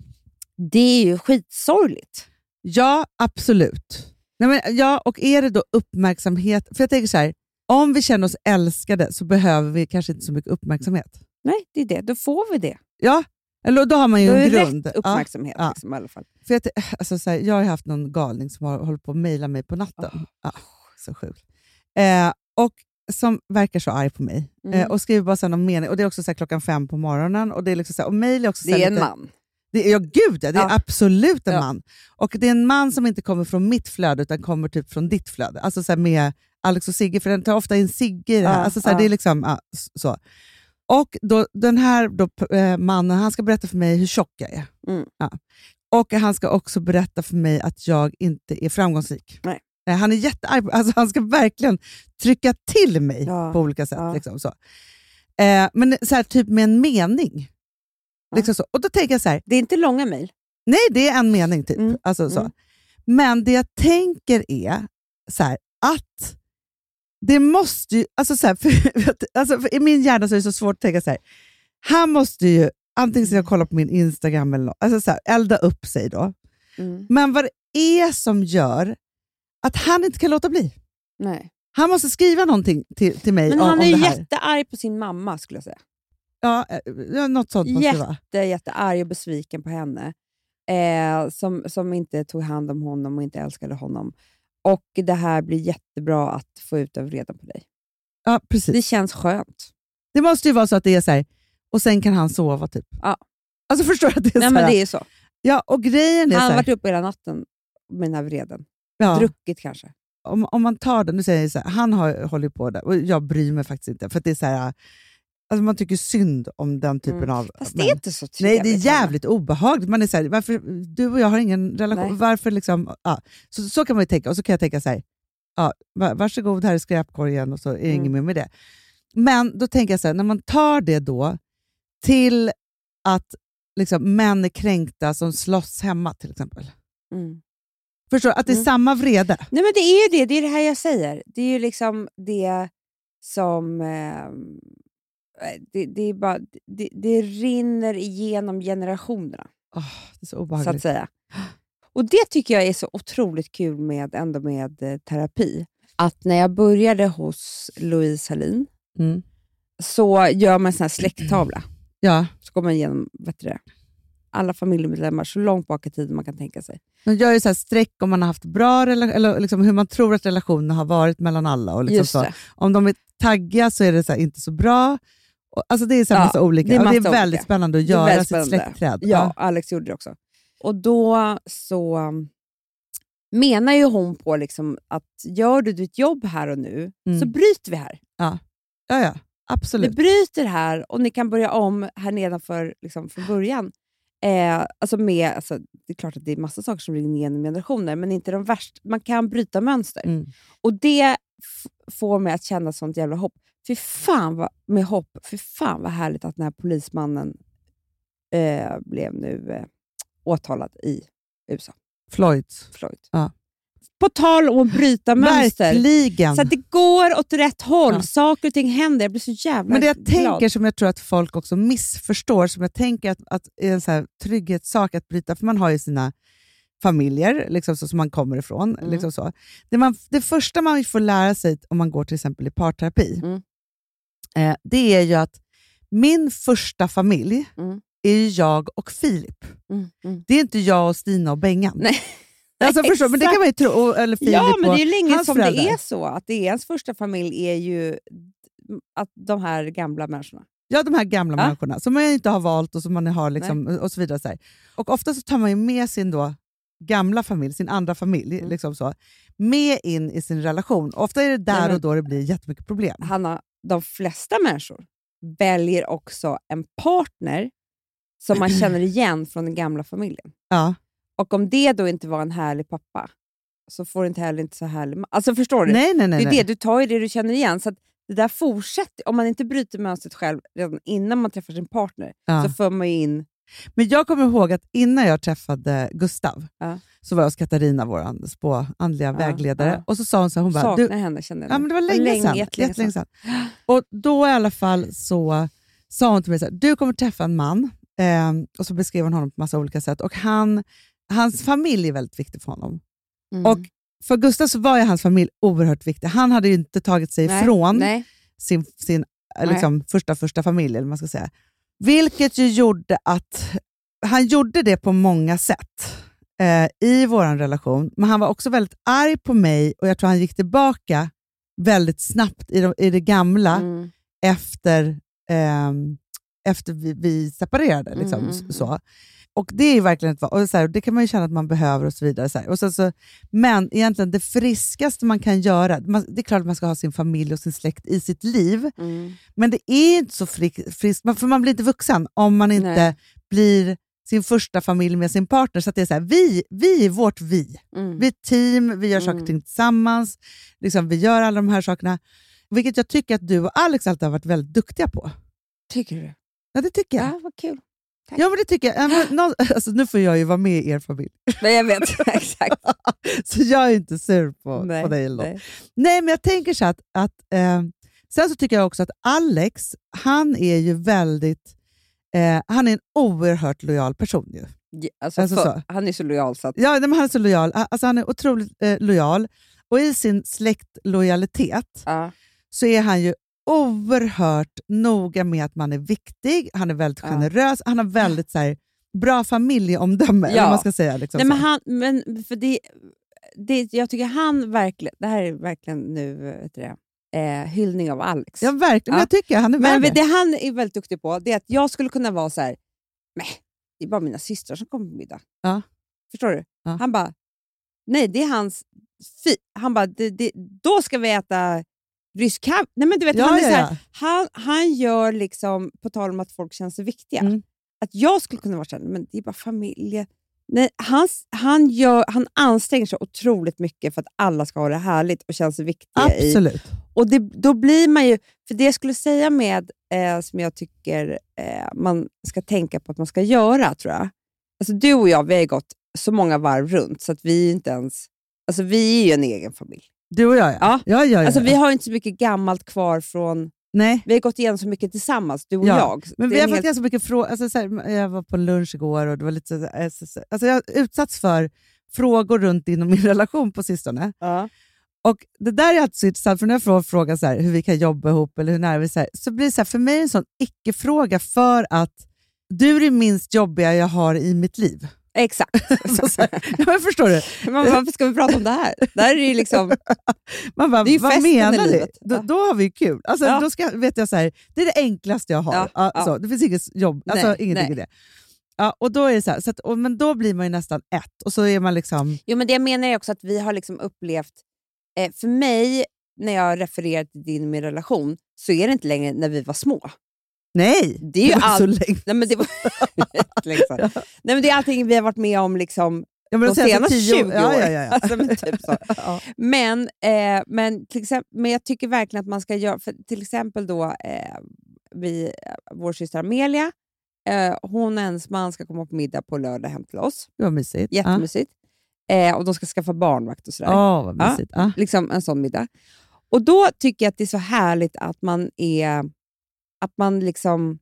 C: det är ju skitsorgligt.
D: Ja, absolut. Nej, men, ja, och är det då uppmärksamhet? För jag tänker så här, om vi känner oss älskade så behöver vi kanske inte så mycket uppmärksamhet.
C: Nej, det är det. Då får vi det.
D: Ja, eller då har man ju
C: Då är
D: en
C: det
D: grund.
C: rätt
D: ja,
C: uppmärksamhet
D: ja.
C: Liksom, i alla fall.
D: för jag, t- alltså, så här, jag har ju haft någon galning som har hållit på och mejlat mig på natten. Ja, så sjukt. Eh, och som verkar så arg på mig
C: Mm.
D: eh, och skriver bara så här någon mening. Och det är också så här, klockan fem på morgonen och det är liksom så här, och mejl är också så här,
C: Det är en
D: lite-
C: man.
D: Det är, ja, gud ja, det är
C: Ja.
D: absolut en
C: Ja.
D: man. Och det är en man som inte kommer från mitt flöde utan kommer typ från ditt flöde. Alltså så här med Alex och Sigge, för den tar ofta in Sigge i det här.
C: Ja,
D: alltså så här,
C: ja.
D: det är liksom, ja, s- så. Och då, den här då, p- eh, mannen, han ska berätta för mig hur tjock jag är.
C: Mm.
D: Ja. Och han ska också berätta för mig att jag inte är framgångsrik. Eh,
C: Nej.
D: han är jättearg, på- alltså han ska verkligen trycka till mig
C: Ja,
D: på olika sätt.
C: ja.
D: Liksom, så. Eh, men så här, typ med en mening. Liksom så. Och då tänker jag så här,
C: Det är inte långa mejl.
D: Nej, det är en mening typ.
C: Mm,
D: Alltså, så.
C: mm.
D: Men det jag tänker är så här, att det måste ju... Alltså, så här, för, vet du, alltså, för I min hjärna så är det så svårt att tänka så här. Han måste ju antingen sitta och kolla på min Instagram eller något, alltså, så här, elda upp sig då.
C: Mm.
D: Men vad det är som gör att han inte kan låta bli?
C: Nej.
D: Han måste skriva någonting till, till mig
C: Men
D: om,
C: han
D: om
C: är
D: det
C: ju
D: här.
C: jättearg på sin mamma skulle jag säga.
D: Ja, eh, ja, något sånt måste det vara.
C: jätte, jättearg och besviken på henne. Eh, som, som inte tog hand om honom och inte älskade honom. Och det här blir jättebra att få ut av redan på dig.
D: Ja, precis.
C: Det känns skönt.
D: Det måste ju vara så att det är så här, och sen kan han sova typ.
C: Ja.
D: Alltså förstår du att det är
C: Nej,
D: så här?
C: men det är ju så.
D: Ja, och grejen är
C: Han
D: så
C: har
D: här,
C: varit uppe hela natten med den här vreden.
D: ja,
C: Druckit kanske.
D: om, om man tar den, nu säger jag så här, han har, håller ju på där och jag bryr mig faktiskt inte. För att det är så här, alltså man tycker synd om den typen
C: Mm.
D: av
C: Fast det
D: män.
C: är inte så
D: Nej,
C: trevligt.
D: det är
C: Hanna.
D: jävligt obehagligt. Man är så här, varför, du och jag har ingen relation.
C: Nej.
D: Varför liksom, ja. så, så kan man ju tänka, och så kan jag tänka så här, ja, va- varsågod, här är skräpkorgen och så är det
C: Mm.
D: inget mer med det. Men då tänker jag så här, när man tar det då till att liksom, män är kränkta som slåss hemma till exempel.
C: Mm.
D: Förstår du? Att det är
C: Mm.
D: samma vrede.
C: Nej, men det är ju det. Det är det här jag säger. Det är ju liksom det som... Eh, det, det, är bara, det, det rinner igenom generationerna,
D: Åh, det är
C: så
D: så
C: att
D: obehagligt.
C: säga. Och det tycker jag är så otroligt kul med, ändå med eh, terapi. Att när jag började hos Louise Hallin
D: Mm.
C: så gör man en sån här släkttavla.
D: Ja.
C: Så går man igenom vet du det, alla familjemedlemmar så långt bak i tiden man kan tänka sig.
D: Man gör ju så här streck om man har haft bra relation, eller liksom hur man tror att relationen har varit mellan alla. Och liksom
C: Just
D: så.
C: det.
D: Om de är taggiga så är det så här, inte så bra. Och, alltså det är så här
C: Ja,
D: massa olika.
C: det är
D: och det är
C: massa
D: väldigt
C: olika.
D: spännande att
C: Det är
D: göra
C: väldigt
D: sitt
C: spännande.
D: släktträd.
C: Ja, Alex gjorde det också. Och då så um, menar ju hon på liksom att gör du ditt jobb här och nu
D: Mm.
C: så bryter vi här.
D: ja, ja.
C: Vi
D: Absolut.
C: bryter här och ni kan börja om här nedanför liksom, från början. Eh, alltså med, alltså, det är klart att det är massa saker som ringer igenom generationer, men inte de värsta. Man kan bryta mönster.
D: Mm.
C: Och det f- får mig att känna sånt jävla hopp. Fy fan vad, med hopp, fy fan vad härligt att den här polismannen eh, blev nu eh, åtalad i USA.
D: Floyds.
C: Floyd.
D: Ja.
C: På tal om att bryta mönster.
D: Verkligen.
C: Så att det går åt rätt håll.
D: Ja.
C: Saker och ting händer. Jag blir så jävla
D: Men det jag
C: glad.
D: tänker som jag tror att folk också missförstår, som jag tänker att, att är en så här trygghetssak att bryta, för man har ju sina familjer liksom så, som man kommer ifrån.
C: Mm.
D: Liksom så. Det, man, det första man får lära sig om man går till exempel i parterapi,
C: Mm.
D: eh, det är ju att min första familj
C: Mm.
D: är ju jag och Filip.
C: Mm, mm.
D: Det är inte jag och Stina och Bengan.
C: Nej.
D: Alltså, förstår, du? men det kan
C: Exakt.
D: man ju tro. och- Eller Filip
C: Ja, men
D: och,
C: det är ju länge
D: hans
C: som det
D: föräldrar.
C: är så. Att det är ens första familj är ju att de här gamla människorna.
D: Ja, de här gamla
C: Ja.
D: människorna som man inte har valt och som man har liksom, och så vidare. Så här. Och ofta så tar man ju med sin då gamla familj, sin andra familj,
C: Mm.
D: liksom så, med in i sin relation. Ofta är det där
C: Nej, men-
D: och då det blir jättemycket problem.
C: Hanna, de flesta människor väljer också en partner som man känner igen från den gamla familjen.
D: Ja.
C: Och om det då inte var en härlig pappa, så får du inte heller inte så härlig ma- Alltså förstår du?
D: Nej, nej, nej.
C: det är
D: nej.
C: det, du tar ju det du känner igen. Så att det där fortsätter, om man inte bryter mönstret själv redan innan man träffar sin partner,
D: Ja.
C: så för man ju in...
D: Men jag kommer ihåg att innan jag träffade Gustav
C: Ja.
D: så var jag hos Katarina, vår spå, andliga
C: Ja,
D: vägledare,
C: ja.
D: och så sa hon så här, hon bara,
C: saknar
D: du,
C: henne känner jag
D: Ja,
C: nu.
D: men det var länge, sedan.
C: jättelänge
D: Jättelänge sedan. Och då i alla fall så sa hon till mig så här, du kommer träffa en man. Ehm, och så beskrev hon honom på massa olika sätt. Och han, hans familj är väldigt viktig för honom.
C: Mm.
D: Och för Gustav så var ju hans familj oerhört viktig. Han hade ju inte tagit sig
C: Nej,
D: ifrån
C: Nej.
D: sin, sin eh,
C: Nej.
D: liksom, första första familj, eller vad man ska säga. Vilket ju gjorde att han gjorde det på många sätt eh, i vår relation, men han var också väldigt arg på mig och jag tror han gick tillbaka väldigt snabbt i, de, i det gamla
C: Mm.
D: efter, ehm, efter vi, vi separerade. Liksom,
C: Mm,
D: s-
C: mm,
D: så. Och Det är ju verkligen ett val. Och så här, det kan man ju känna att man behöver och så vidare. Så här. Och sen så, men egentligen det friskaste man kan göra, man, det är klart att man ska ha sin familj och sin släkt i sitt liv,
C: Mm.
D: men det är inte så fri- friskt, man- för man blir inte vuxen om man inte
C: Nej.
D: blir sin första familj med sin partner. Så att det är så här, vi, vi är vårt vi.
C: Mm.
D: Vi är ett team, vi gör saker och ting tillsammans, liksom, vi gör alla de här sakerna. Vilket jag tycker att du och Alex alltid har varit väldigt duktiga på.
C: Tycker du?
D: Ja, det tycker jag.
C: Ja, vad kul.
D: Ja, men det tycker jag. Ja, men, nå- alltså, nu får jag ju vara med i er familj,
C: Nej, jag vet. Exakt.
D: så jag är inte sur på,
C: Nej,
D: på dig. Eller något.
C: nej.
D: Nej, men jag tänker så att... att eh, sen så tycker jag också att Alex, han är ju väldigt... Eh, han är en oerhört lojal person. Ju.
C: Ja, Alltså,
D: Alltså
C: för,
D: så.
C: Han är så lojal så att...
D: Ja, nej, men han är så lojal. A- Alltså, han är otroligt eh, lojal. Och i sin släktlojalitet
C: Ja.
D: så är han ju oerhört noga med att man är viktig, han är väldigt
C: Ja.
D: generös, han har väldigt så här, bra familjeomdöme. eller
C: Ja.
D: vad man ska säga. Liksom,
C: Nej, men
D: så.
C: han, men för det, det, jag tycker han verkligen, det här är verkligen nu eh, vet du det, eh, hyllning av Alex.
D: ja, verkligen. Men
C: Ja.
D: Jag tycker han är
C: men
D: värd
C: det han är väldigt duktig på det är att jag skulle kunna vara så här, nej, det är bara mina systrar som kommer på middag.
D: Ja.
C: Förstår du?
D: Ja.
C: Han bara, nej det är hans, fi, han bara, det, det, då ska vi äta rysk hav. Nej men du vet,
D: Ja,
C: han är
D: ja,
C: så här,
D: ja.
C: han, han gör liksom, på tal om att folk känner sig viktiga,
D: Mm.
C: att jag skulle kunna vara såhär, men det är bara familjen. Nej, han, han, gör, han anstränger sig otroligt mycket för att alla ska ha det härligt och känna sig viktiga. I.
D: Absolut.
C: Och det, då blir man ju, för det jag skulle säga med, eh, som jag tycker eh, man ska tänka på att man ska göra, tror jag. Alltså du och jag, vi har ju gått så många varv runt så att vi är inte ens, alltså vi är ju en egen familj.
D: Du och jag, ja.
C: Ja.
D: ja. ja, ja,
C: Alltså
D: ja.
C: vi har ju inte så mycket gammalt kvar från
D: Nej.
C: vi har gått igenom så mycket tillsammans, du och
D: Ja,
C: jag.
D: Men
C: Det är
D: vi har
C: en
D: fått
C: helt-
D: ganska mycket frågor. Alltså, så här, jag var på lunch igår och det var lite så här, så- så- alltså, jag har utsatts för frågor runt din och min relation på sistone.
C: ja.
D: Och Det där är alltid så intressant, för när jag får frågan så här, hur vi kan jobba ihop eller hur nära vi är, så, här, så blir det så här, för mig en sån icke-fråga för att du är det minst jobbiga jag har i mitt liv.
C: Exakt.
D: Så, så här, ja, men förstår du?
C: Man, bara, varför ska vi prata om det här? Det här är ju liksom...
D: Man bara,
C: Det är ju
D: vad
C: festen i
D: menar du?
C: livet.
D: Då,
C: Ja.
D: då har vi ju kul. Alltså,
C: Ja.
D: då ska, vet jag så här, det är det enklaste jag har.
C: Ja,
D: Alltså,
C: ja.
D: Det finns inget jobb, alltså,
C: Nej,
D: ingenting
C: nej.
D: i det. Ja, och då är det så här, så att, och, men då blir man ju nästan ett och så är man liksom...
C: Jo, men det jag menar är också att vi har liksom upplevt... Eh, för mig, när jag refererar till din och min relation, så är det inte längre när vi var små.
D: Nej!
C: Det är ju
D: var så
C: allt...
D: länge.
C: Nej, men det, var... liksom. Nej, men det är allting vi har varit med om liksom,
D: Ja, men
C: de
D: då säger jag så
C: senaste 20 åren.
D: Ja, ja, ja, ja.
C: Alltså, men typ så.
D: Ja.
C: Men, eh, men, till exempel, men jag tycker verkligen att man ska göra... För till exempel då, eh, vi, eh, vår syster Amelia, eh, hon och hennes man ska komma på middag på lördag hem till oss.
D: Det var mysigt. Ja.
C: Jättemysigt. Eh, och de ska skaffa barnvakt och sådär.
D: Åh, vad mysigt. Ja.
C: Liksom en sån middag. Och då tycker jag att det är så härligt att man är... Att man liksom...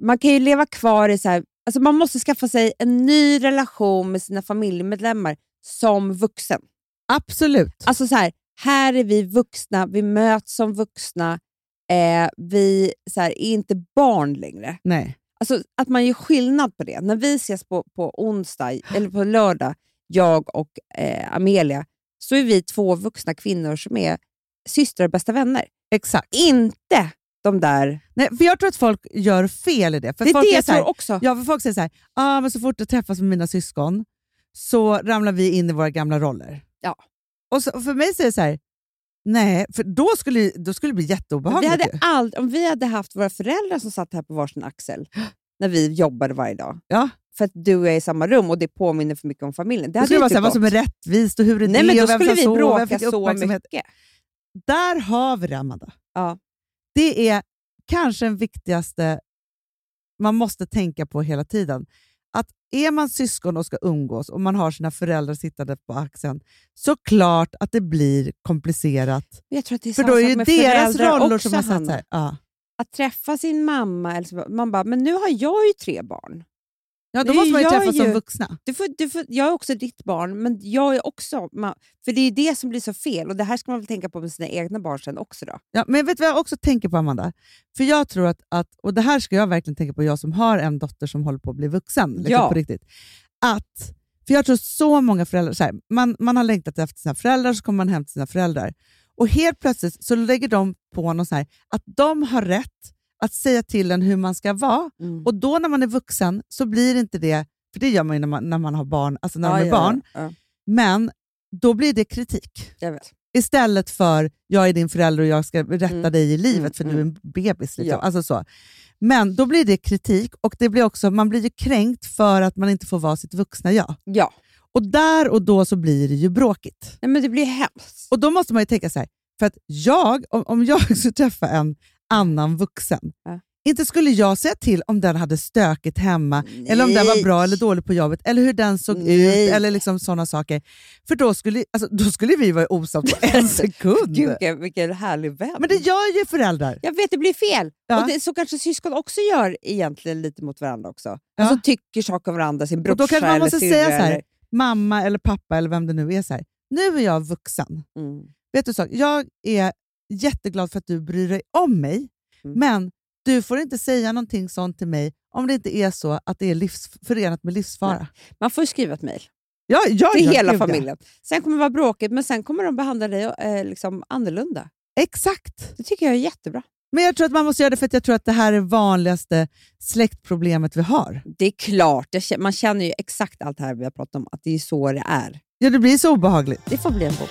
C: Man kan ju leva kvar i så här... Alltså man måste skaffa sig en ny relation med sina familjemedlemmar som vuxen.
D: Absolut.
C: Alltså så här, här är vi vuxna, vi möts som vuxna. Eh, vi så här, är inte barn längre.
D: Nej.
C: Alltså att man gör skillnad på det. När vi ses på, på onsdag, eller på lördag, jag och eh, Amelia, så är vi två vuxna kvinnor som är systrar och bästa vänner.
D: Exakt.
C: Inte de där...
D: Nej, för jag tror att folk gör fel i det. För
C: Det är
D: folk
C: det
D: är
C: jag
D: så här,
C: tror också.
D: Ja, för folk säger så här, ah, men så fort jag träffas med mina syskon så ramlar vi in i våra gamla roller.
C: Ja.
D: Och, så, och för mig så är det så här, nej, för då skulle, då skulle det bli
C: vi
D: jätteobehagligt.
C: hade
D: ju.
C: ald- om vi hade haft våra föräldrar som satt här på varsin axel när vi jobbade varje dag,
D: Ja.
C: för att du och jag är i samma rum och det påminner för mycket om familjen. Det
D: Då
C: hade
D: skulle det
C: ju
D: vara
C: typ
D: så här, vad som är
C: gått.
D: rättvist och hur är
C: Nej,
D: det
C: men då
D: och vem
C: skulle
D: som
C: vi
D: sov och vem
C: bråka
D: fick
C: så
D: uppmärksamhet.
C: mycket.
D: Där har vi det, Amanda.
C: Ja.
D: Det är kanske den viktigaste man måste tänka på hela tiden. Att är man syskon och ska umgås och man har sina föräldrar sittande på axeln, så klart att det blir komplicerat.
C: Men Jag tror att det är
D: För
C: samma
D: då är
C: sak
D: ju
C: med
D: deras
C: föräldrar
D: roller
C: också,
D: som har satt
C: Hanna.
D: så här. Ja.
C: Att träffa sin mamma, eller så, man bara, men nu har jag ju tre barn.
D: ja,
C: Nu
D: då måste man ju
C: gör
D: träffas
C: ju-
D: som vuxna.
C: Du får, du får, jag är också ditt barn, men jag är också... ma- För det är ju det som blir så fel. Och Det här ska man väl tänka på med sina egna barn sen också. då.
D: Ja, men vet du vad jag också tänker på, Amanda? För jag tror att, att, och det här ska jag verkligen tänka på, jag som har en dotter som håller på att bli vuxen. Liksom,
C: Ja.
D: på riktigt. Att, för jag tror så många föräldrar, så här, man, man har längtat efter sina föräldrar, så kommer man hem till sina föräldrar. Och helt plötsligt så lägger de på någon så här, att de har rätt att säga till en hur man ska vara.
C: Mm.
D: Och då när man är vuxen så blir inte det, för det gör man ju när man, när man har barn, alltså när man är barn,
C: Ja,
D: men då blir det kritik
C: jag vet.
D: istället för jag är din förälder och jag ska rätta
C: Mm.
D: dig i livet
C: Mm,
D: för du
C: mm.
D: är en bebis. Liksom.
C: Ja.
D: Alltså så. Men då blir det kritik och det blir också, man blir ju kränkt för att man inte får vara sitt vuxna jag.
C: Ja.
D: Och där och då så blir det ju bråkigt.
C: Nej, men det blir hemskt.
D: Och då måste man ju tänka så här, för att jag, om, om jag skulle träffa en annan vuxen,
C: Ja.
D: inte skulle jag säga till om den hade stökigt hemma, eller om den var
C: Nej.
D: bra eller dålig på jobbet, eller hur den såg
C: Nej.
D: ut, eller liksom sådana saker. För då skulle, alltså, då skulle vi vara osams på en sekund.
C: Gud, vilken, vilken härlig vän.
D: Mm. Men det gör ju föräldrar.
C: jag vet, det blir fel.
D: Ja.
C: Och det, Så kanske syskon också gör egentligen lite mot varandra också.
D: Ja.
C: Alltså tycker saker om varandra, sin
D: Och
C: brorsa
D: då kanske man
C: eller
D: måste
C: syrra
D: säga så här,
C: eller-
D: mamma eller pappa eller vem det nu är, så här, nu är jag vuxen.
C: Mm.
D: Vet du så, jag är
H: jätteglad för att du bryr dig om mig,
C: Mm.
H: men du får inte säga någonting sånt till mig om det inte är så att det är livs, förenat med livsfara.
C: Man får ju skriva ett mejl
H: Ja, ja,
C: till
H: ja,
C: hela
H: gud, ja.
C: familjen. Sen kommer det vara bråkigt, men sen kommer de behandla dig eh, liksom annorlunda.
H: Exakt.
C: Det tycker jag är jättebra.
H: Men jag tror att man måste göra det för att jag tror att det här är det vanligaste släktproblemet vi har.
C: Det är klart, jag känner, man känner ju exakt allt det här vi har pratat om, att det är så det är.
H: Ja, det blir så obehagligt.
C: Det får bli en bok.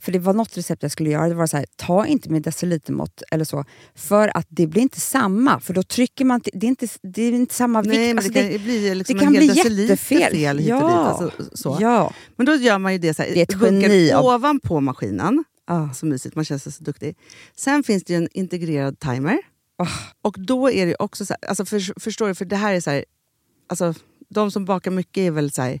C: För det var något recept jag skulle göra. Det var så här, ta inte med decilitermått eller så. För att det blir inte samma. För då trycker man... till- Det är inte, det är inte samma
D: Nej,
C: vikt.
D: men
C: Alltså,
D: det kan ju bli liksom
C: kan
D: en
C: bli
D: hel deciliter
C: jättefel.
D: fel hit och dit.
C: Ja.
D: Alltså, så.
C: Ja.
D: Men då gör man ju det så här,
C: Det är ett
D: bunkar
C: geni av-
D: ovanpå maskinen.
C: Ah.
D: Så mysigt, man känns så duktig. Sen finns det ju en integrerad timer.
C: Ah.
D: Och då är det ju också så här, alltså för, förstår du, för det här är så här, alltså de som bakar mycket är väl så här,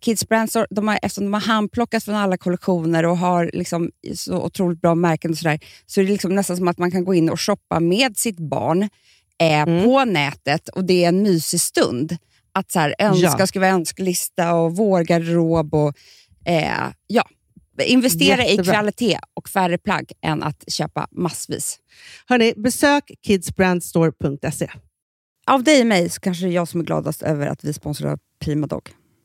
C: Kids Brand Store, de har, eftersom de har handplockats från alla kollektioner och har liksom så otroligt bra märken och sådär, så är det liksom nästan som att man kan gå in och shoppa med sitt barn eh,
D: Mm.
C: på nätet och det är en mysig stund. Att så här, önska,
D: Ja.
C: skriva önskelista och vårgarderob och Eh, ja. Investera i
D: Jättebra.
C: kvalitet och färre plagg än att köpa massvis.
D: Hörni, besök kidsbrandstore.se.
C: Av dig och mig så kanske det är jag som är gladast över att vi sponsrar Prima Dog.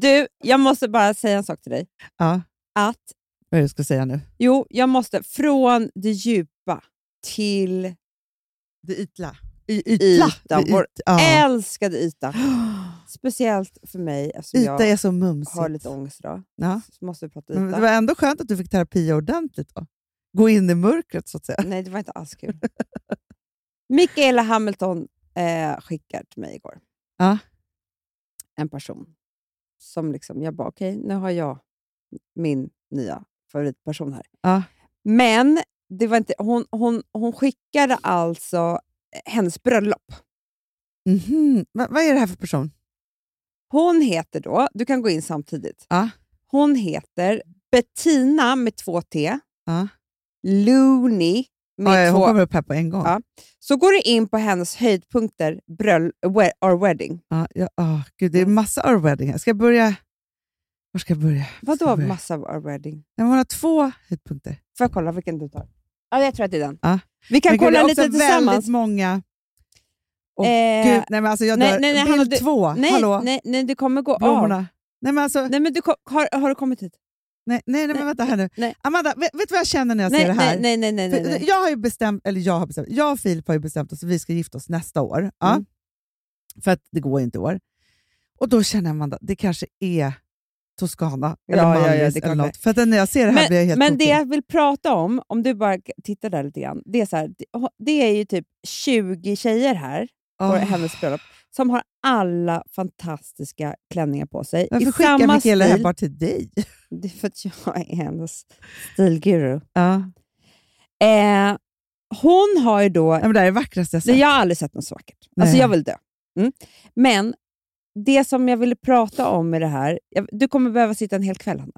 C: Du, jag måste bara säga en sak till dig.
D: Ja.
C: Att
D: Vad är det jag ska säga nu?
C: Jo, jag måste. Från det djupa till
D: Det ytla.
C: ytan.
D: Det
C: Vår
D: yt- ja.
C: älskade yta. Speciellt för mig eftersom
D: Yta
C: jag
D: är så mumsigt.
C: har lite ångest idag.
D: Ja.
C: Så måste vi prata
D: Men
C: yta.
D: det var ändå skönt att du fick terapi ordentligt då. Gå in i mörkret så att säga.
C: Nej, det var inte alls kul. Mikaela Hamilton eh, skickar till mig igår.
D: Ja.
C: En person som liksom, jag bara okej, nu har jag min nya favoritperson här.
D: Ja.
C: Men det var inte, hon, hon, hon skickade alltså hennes bröllop.
D: Mhm. Va, vad är det här för person?
C: Hon heter då, du kan gå in samtidigt.
D: Ja.
C: Hon heter Bettina med två T,
D: Ja.
C: Looney med
D: Oj, hon
C: två...
D: kommer upp här på en gång.
C: Ja. Så går du in på hennes höjdpunkter, bröll, we, or wedding.
D: Ja, ja, ah, gud, det är massa our wedding här. Ska jag börja? Var ska jag börja? Ska
C: Vadå
D: jag börja?
C: massa our wedding?
D: Nej, men Hon har två höjdpunkter.
C: Får jag kolla vilken du tar? Ja, jag tror att det är den.
D: Ja.
C: Vi kan
D: Men gud, det
C: kolla
D: är
C: lite
D: också
C: tillsammans.
D: väldigt många. Åh,
C: Eh,
D: gud, nej, men alltså jag
C: nej,
D: dör.
C: nej, nej,
D: Bild
C: hallå, du-
D: två.
C: nej,
D: Hallå,
C: nej, nej, det kommer gå av.
D: blommorna. Nej, men alltså,
C: Nej, men du, ko- har, har du kommit hit?
D: Nej, nej, nej, men vänta här nu.
C: nej.
D: Amanda, vet, vet du vad jag känner när jag
C: Nej,
D: ser det här?
C: nej, nej, nej, nej, nej,
D: För
C: nej.
D: Jag har ju bestämt, eller jag har bestämt, jag och Filip har ju bestämt oss att vi ska gifta oss nästa år. Ja.
C: Mm.
D: För att det går inte i år. Och då känner jag, Amanda, det kanske är Toscana
C: Ja,
D: eller
C: ja, ja,
D: Mallis
C: det
D: eller
C: kan
D: något. För att när jag ser det här blir
C: Men,
D: jag helt
C: men det
D: tokig.
C: jag vill prata om, om du bara k- tittar där lite grann, det är, så här, det- det är ju typ 20 tjejer här på
D: Åh,
C: hennes bröllop som har alla fantastiska klänningar på sig.
D: Varför skickar Mikaela det här bara till dig?
C: Det är för att jag är hennes stilguru.
D: Ja.
C: Eh, hon har ju då...
D: Nej, men det här är det vackraste jag
C: Nej,
D: sett.
C: jag har aldrig sett något så vackert. Alltså
D: Nej.
C: jag vill dö. Mm. Men det som jag ville prata om med det här, jag, du kommer behöva sitta en hel kväll Hanna.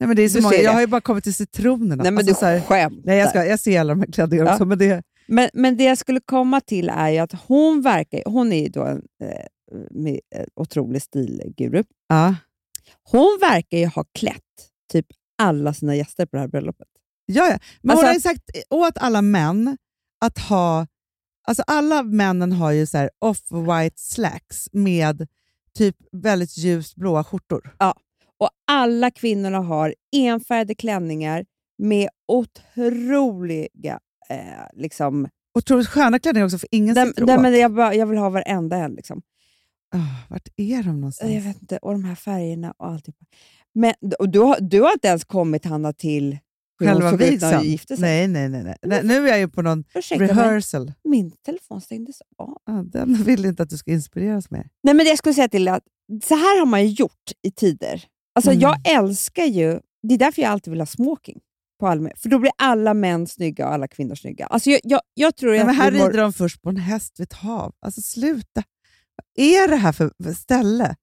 D: Nej, men det är så
C: Du
D: många.
C: ser
D: Jag
C: det.
D: har ju bara kommit till citronerna.
C: Nej men
D: Alltså,
C: du
D: så här,
C: skämtar.
D: nej jag, ska, jag ser alla de här klänningarna
C: Ja.
D: också. Men det,
C: Men, men det jag skulle komma till är ju att hon verkar, hon är ju då en eh, med, eh, otrolig stilguru.
D: ja.
C: Hon verkar ju ha klätt typ alla sina gäster på det här bröllopet.
D: Ja, ja. Men
C: Alltså
D: hon har ju sagt åt alla män att ha... Alltså alla männen har ju så här off-white slacks med typ väldigt ljust blåa skjortor.
C: Och alla kvinnorna har enfärgade klänningar med otroliga eh, liksom,
D: Otroligt sköna klänningar också, för ingen
C: Den,
D: sitter
C: den,
D: åt.
C: men jag, bara, jag vill ha varenda en. Liksom.
D: Ah, vart är de någonstans?
C: Jag vet inte, och de här färgerna och alltihopa. Men, och du, har, du har inte ens kommit, Hanna, till hur hon
D: Själva
C: såg ut när
D: vigseln?
C: hon gifte sig.
D: Nej, nej, nej. nej. nej nu är jag ju på någon
C: Ursäkta mig,
D: rehearsal.
C: min telefon stängdes av.
D: Ah, den vill inte att du ska inspireras mer.
C: Nej, men det jag skulle säga till är att så här har man ju gjort i tider. Alltså,
D: Mm.
C: Jag älskar ju, det är därför jag alltid vill ha smoking. På allmän, för då blir alla män snygga och alla kvinnor snygga. Alltså jag, jag, jag tror
D: Nej,
C: att
D: men här
C: vi mår-
D: rider de först på en häst vid ett hav. Alltså sluta. Vad är det här för för ställe?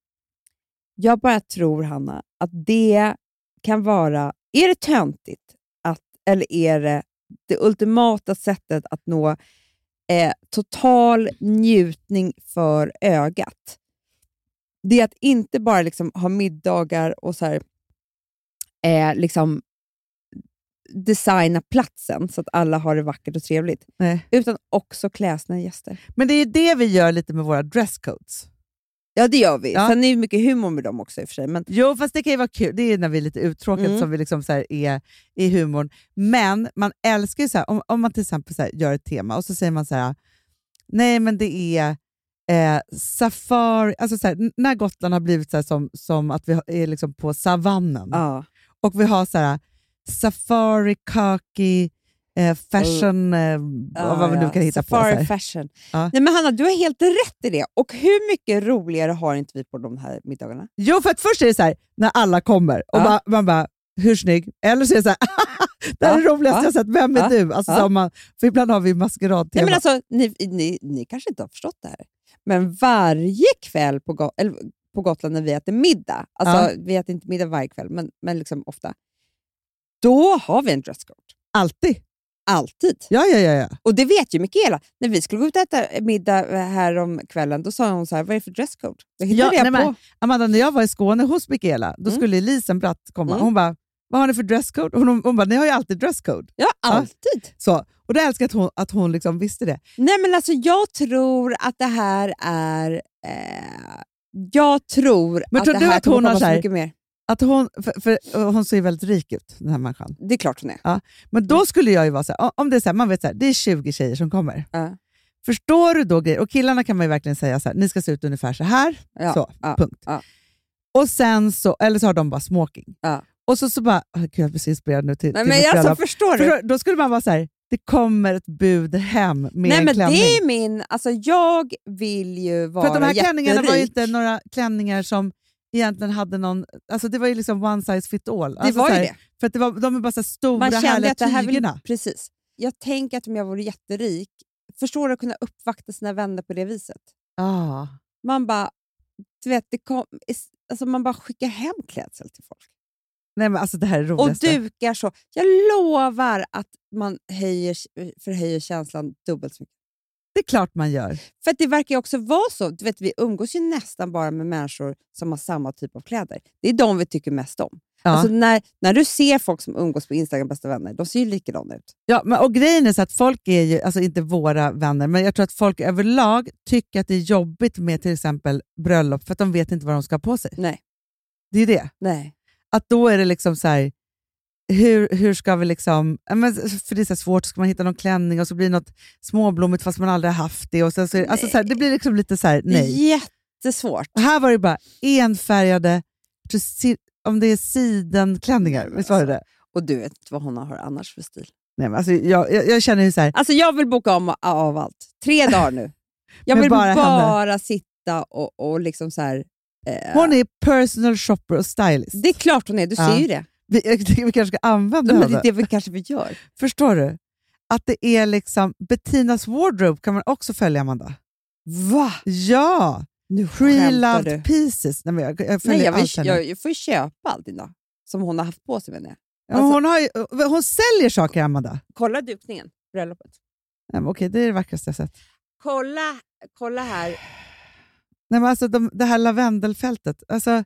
C: Jag bara tror, Hanna, att det kan vara... Är det töntigt? Att, eller är det det ultimata sättet att nå eh, total njutning för ögat? Det är att inte bara liksom ha middagar och så här, eh, liksom designa platsen så att alla har det vackert och trevligt,
D: Nej.
C: utan också klä sina gäster.
D: Men det är ju det vi gör lite med våra dresscodes.
C: Ja, det gör vi.
D: Ja.
C: Sen är det mycket humor med dem också i och för sig. Men
D: Jo, fast det kan ju vara kul. Det är när vi är lite uttråkade
C: Mm.
D: som vi liksom så här är i humorn. Men man älskar ju så här, om, om man till exempel så här gör ett tema och så säger man så här, nej men det är eh, safari, alltså så här, n- när Gotland har blivit så här som, som att vi har- är liksom på savannen
C: ja.
D: och vi har så här safari, kaki, eh, fashion, eh, och vad vi nu
C: ja.
D: kan hitta
C: Safari
D: på. Så här.
C: fashion.
D: Ja.
C: Nej, men Hanna, du har helt rätt i det. Och hur mycket roligare har inte vi på de här middagarna?
D: Jo, för att först är det så här, när alla kommer och
C: Ja.
D: man, man bara, hur snygg? Eller så är det så här, det här är det
C: Ja,
D: roligaste
C: ja,
D: jag sett, vem är
C: ja,
D: du? Alltså,
C: ja.
D: så har man, för ibland har vi
C: Nej,
D: maskeradtema.
C: men alltså, ni, ni, ni kanske inte har förstått det här, men varje kväll på, Go- eller på Gotland när vi äter middag, alltså vi äter inte middag varje kväll, men, men liksom ofta, då har vi en dresscode.
D: Alltid.
C: Alltid.
D: Ja, ja, ja. ja.
C: Och det vet ju Mikaela. När vi skulle gå ut och äta middag här om kvällen, då sa hon så här, vad är det för dresscode? Det hittade
D: Ja,
C: jag
D: nej,
C: på.
D: Amanda, när jag var i Skåne hos Mikaela, då
C: Mm.
D: skulle Elisen Bratt komma.
C: Mm.
D: Hon bara, vad har ni för dresscode? Hon, hon bara, ni har ju alltid dresscode.
C: Ja, alltid.
D: Så, och det älskar jag att hon, att hon liksom visste det.
C: Nej, men alltså jag tror att det här är... Eh, jag tror
D: Men
C: att
D: tror
C: det
D: du
C: här
D: att hon
C: kommer
D: har
C: komma
D: så
C: så
D: här-
C: mycket mer.
D: Att hon, för, för, och hon ser ju väldigt rik ut, den här människan.
C: Det är klart hon är.
D: Men
C: Mm.
D: då skulle jag ju vara så här, om det är så här, man vet så här, det är 20 tjejer som kommer.
C: Ja.
D: Förstår du då grejer? Och killarna kan man ju verkligen säga så här, ni ska se ut ungefär så här.
C: Ja,
D: så,
C: ja,
D: punkt.
C: ja.
D: Och sen så, eller så har de bara smoking.
C: Ja.
D: Och så, så bara, oh, gud jag blir så inspirerad nu till,
C: Nej,
D: till
C: men
D: mitt
C: alltså,
D: bröllop.
C: förstår du?
D: Förstår du? Då skulle man vara så här, det kommer ett bud hem med
C: Nej,
D: en
C: men det
D: klänning.
C: är min... Alltså jag vill ju vara
D: För att de här klänningarna var ju
C: jätterik.
D: inte några klänningar som egentligen hade någon, alltså det var ju liksom one size fit all.
C: Det
D: alltså
C: var
D: så
C: ju
D: här,
C: det.
D: För att det var, de är bara så här stora
C: Man kände
D: härliga
C: att det här vill,
D: tygerna.
C: Precis. Jag tänker att om jag vore jätterik, förstår du att kunna uppvakta sina vänner på det viset?
D: Ah.
C: Man bara, du vet, det kom, is- alltså man bara skickar hem klädsel till folk.
D: Nej men alltså det här är det
C: Och
D: roligaste.
C: dukar så. Jag lovar att man höjer, eh, förhöjer känslan dubbelt så mycket.
D: Det är klart man gör.
C: För att det verkar ju också vara så. Du vet, vi umgås ju nästan bara med människor som har samma typ av kläder. Det är de vi tycker mest om.
D: Ja.
C: Alltså när, när du ser folk som umgås på Instagram, bästa vänner, de ser ju likadana ut.
D: Ja, men, och grejen är så att folk är ju, alltså inte våra vänner, men jag tror att folk överlag tycker att det är jobbigt med till exempel bröllop för att de vet inte vad de ska ha på sig.
C: Nej.
D: Det är ju det.
C: Nej.
D: Att då är det liksom så här, hur, hur ska vi liksom, ja, men, för det är så här svårt, ska man hitta någon klänning och så blir det något småblommigt fast man aldrig har haft det. Och sen så är, det- alltså, så här, det blir liksom lite så här, nej.
C: Jättesvårt.
D: Och här var det bara enfärgade, jag tror si- om det är sidenklänningar, visst var det det?
C: Och du vet vad hon har annars för stil.
D: Nej, men, alltså, jag, jag, jag känner ju så här,
C: Alltså jag vill boka om av allt. Tre dagar nu. Jag
D: Men
C: vill
D: bara
C: bara,
D: henne.
C: sitta och, och liksom så här... eh,
D: Hon är personal shopper och stylist.
C: det är klart hon är, du
D: Ja.
C: ser ju det.
D: Vi, jag tycker vi kanske ska använda
C: Men
D: henne.
C: det är det vi kanske vi gör.
D: Förstår du? Att det är liksom Bettinas Wardrobe kan man också följa, Amanda.
C: Va?
D: Ja!
C: Nu
D: Free
C: skämtar
D: Loved
C: du.
D: Pieces. Nej, men jag, jag följer
C: Nej, jag, vill,
D: allt henne.
C: jag, jag får ju köpa allting då. Som hon har haft på sig menar jag.
D: Ja, men hon, har ju, hon säljer saker, Amanda. Nej,
C: Kolla dukningen, bröllopet.
D: men Okej, det är det vackraste jag sett.
C: Kolla, kolla här.
D: Nej, men alltså, de, det här lavendelfältet. Alltså,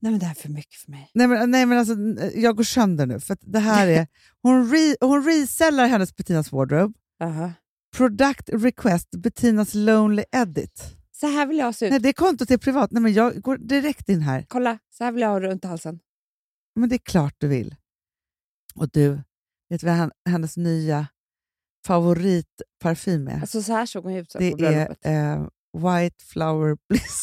C: Nej men det här är för mycket för mig.
D: nej, men, nej, men alltså, jag går sönder nu. För att det här är, hon, re, hon resellar hennes Bettinas Wardrobe. Product Request Bettinas Lonely Edit.
C: Så här vill jag se ut.
D: Nej, det kontot är privat. Nej, men jag går direkt in här.
C: Kolla, så här vill jag ha runt halsen.
D: Men det är klart du vill. Och du, vet du vad hen- hennes nya favoritparfym är?
C: Alltså så här såg hon ju ut så här på
D: det är
C: bröllopet.
D: eh, White Flower Bliss.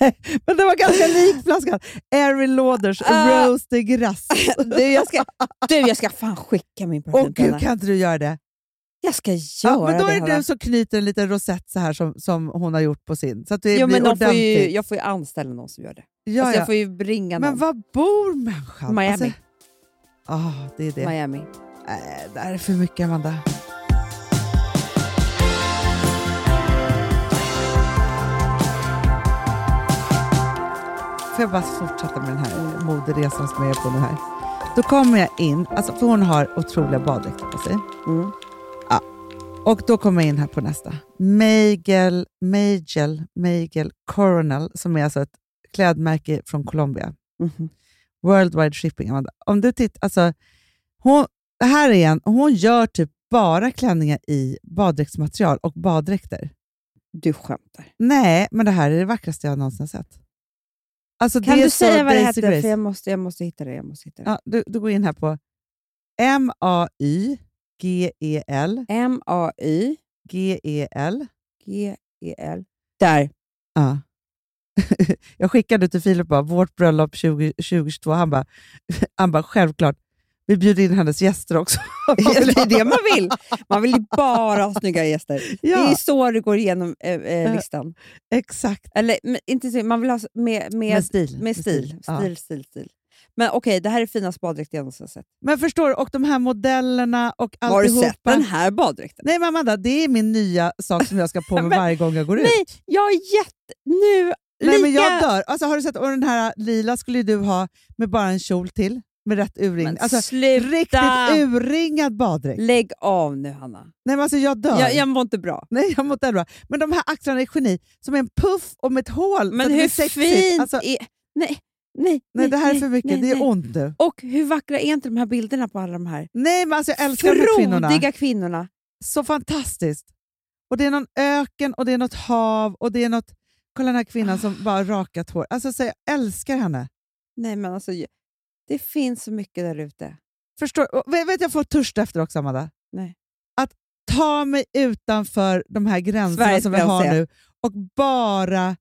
D: Nej, men det var ganska lik flaskan. Airy Lauders
C: Ah.
D: Rose de Grasse.
C: Du jag, ska, du, jag ska fan skicka min
D: Åh
C: parfym till
D: gud,
C: henne.
D: kan inte du göra det?
C: Jag ska göra
D: Ja, men då
C: det.
D: är det
C: Hanna.
D: du som knyter en liten rosett så här som, som hon har gjort på sin. Så att det
C: jo,
D: blir
C: men de får
D: ordentligt.
C: ju, jag får ju anställa någon som gör det.
D: ja,
C: alltså,
D: ja.
C: Jag får ju bringa någon.
D: Men var bor människan?
C: Miami.
D: Alltså, ah, det är det.
C: Miami.
D: Nej, Äh, det här är för mycket Amanda. Får jag bara fortsätta med den här moderesan som jag är på nu här? Då kommer jag in, alltså för hon har otroliga baddräkter på sig. Ja. Och då kommer jag in här på nästa. Magel, Magel, Magel Coronel, som är alltså ett klädmärke från Colombia. Worldwide shipping, Amanda. Om du tittar, alltså, hon, det här är en, hon gör typ bara klänningar i baddräktsmaterial och baddräkter.
C: Du skämtar.
D: Nej, men det här är det vackraste jag någonsin har sett. Alltså,
C: Kan
D: det är
C: du
D: så
C: säga vad det
D: Daisy
C: hette?
D: Grace.
C: För jag måste, jag måste hitta det. Jag måste hitta det.
D: Ja, du, du går in här på M-A-Y-G-E-L.
C: M-A-Y-G-E-L.
D: G-E-L.
C: E Där.
D: Ja. jag skickade till Filip bara, vårt bröllop 20, 2022. Han bara, han bara, självklart. Vi bjuder in hennes gäster också.
C: Det är det man vill. Man vill ju bara ha snygga gäster. Det är
D: ja,
C: så du går igenom eh, eh, listan.
D: exakt.
C: Eller men inte så, man vill ha s- med, med,
D: Med stil.
C: med stil. Stil,
D: Ja.
C: stil, stil, Men okej, det här är fina baddräkt jag någonsin sett.
D: Men förstår du, och de här modellerna och
C: Har du
D: alltihopa.
C: sett den här baddräkten?
D: Nej men Amanda, det är min nya sak som jag ska på mig
C: Men-
D: varje gång jag går ut.
C: Nej, jag är jätte... Nu,
D: Nej, men
C: lika...
D: jag dör. Alltså, har du sett, och den här lila skulle ju du ha med bara en kjol till med rätt urringning.
C: Men
D: Alltså,
C: sluta!
D: riktigt urringad baddräkt.
C: Lägg av nu, Hanna.
D: Nej men alltså jag dör.
C: Jag, jag mår inte bra.
D: Nej, jag mår inte bra. Men de här axlarna är geni, som är en puff och med ett hål. så att
C: Men
D: det blir
C: hur
D: sexigt.
C: fint
D: Alltså,
C: är... Nej, nej,
D: nej, det här är för mycket.
C: nej,
D: det är
C: nej.
D: ont nu.
C: Och hur vackra är inte de här bilderna på alla de här
D: Nej, men alltså jag älskar de här kvinnorna.
C: frodiga kvinnorna?
D: Så fantastiskt. Och det är någon öken och det är något hav och det är något... Kolla den här kvinnan som bara har rakat hår. Alltså så jag älskar henne.
C: Nej, men alltså, ju- det finns så mycket där ute.
D: Förstår, och vet vet jag får törst efter också, Amanda?
C: Nej.
D: Att ta mig utanför de här gränserna
C: Sveriges
D: som vi har
C: gränser.
D: nu och bara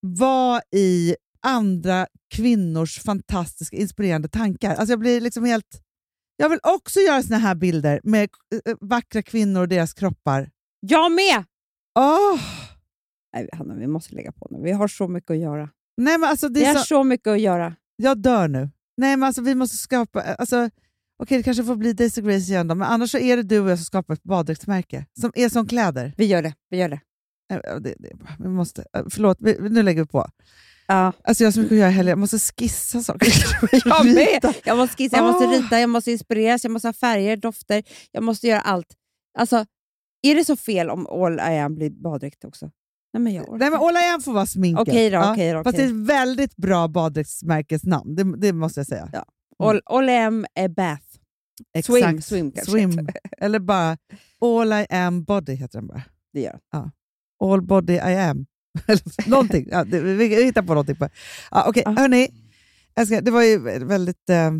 D: vara i andra kvinnors fantastiska, inspirerande tankar. Alltså jag blir liksom helt... Jag vill också göra såna här bilder med eh, vackra kvinnor och deras kroppar.
C: Jag med!
D: Åh!
C: Nej, Hanna, vi måste lägga på nu. Vi har så mycket att göra.
D: Nej, men alltså det
C: Vi
D: är
C: har
D: så,
C: så mycket att göra.
D: jag dör nu. Nej, men alltså vi måste skapa... Alltså, Okej, det kanske får bli Daisy Grace igen då, men annars så är det du och jag som skapar ett baddräktsmärke som är som kläder.
C: Vi gör det. Vi gör det.
D: Nej, ja, Det, det, vi måste, eh, förlåt, vi, nu lägger vi på.
C: Ja.
D: Alltså jag har så mycket att göra i helgen. jag måste skissa saker.
C: Jag
D: Rita.
C: med! Jag måste skissa, jag måste
D: Ah.
C: rita, jag måste inspireras, jag måste ha färger, dofter, jag måste göra allt. Alltså, är det så fel om All I am blir baddräkt också? Nej, men jag orkar.
D: Nej men Ola Jan får vara sminket.
C: Okej då,
D: Ja,
C: okej då.
D: Fast det är
C: okej.
D: ett väldigt bra baddräktsmärkesnamn, det, det måste jag säga.
C: Ja, All, all I am är bath. Swim, swim kanske.
D: Swim. Eller bara All I am body heter den bara.
C: Det gör
D: All body I am. Eller någonting. Ja, det, vi vi hittar på någonting. på det. Ja, Okej,
C: Ja.
D: hörni. Älskar, det var ju väldigt... Eh,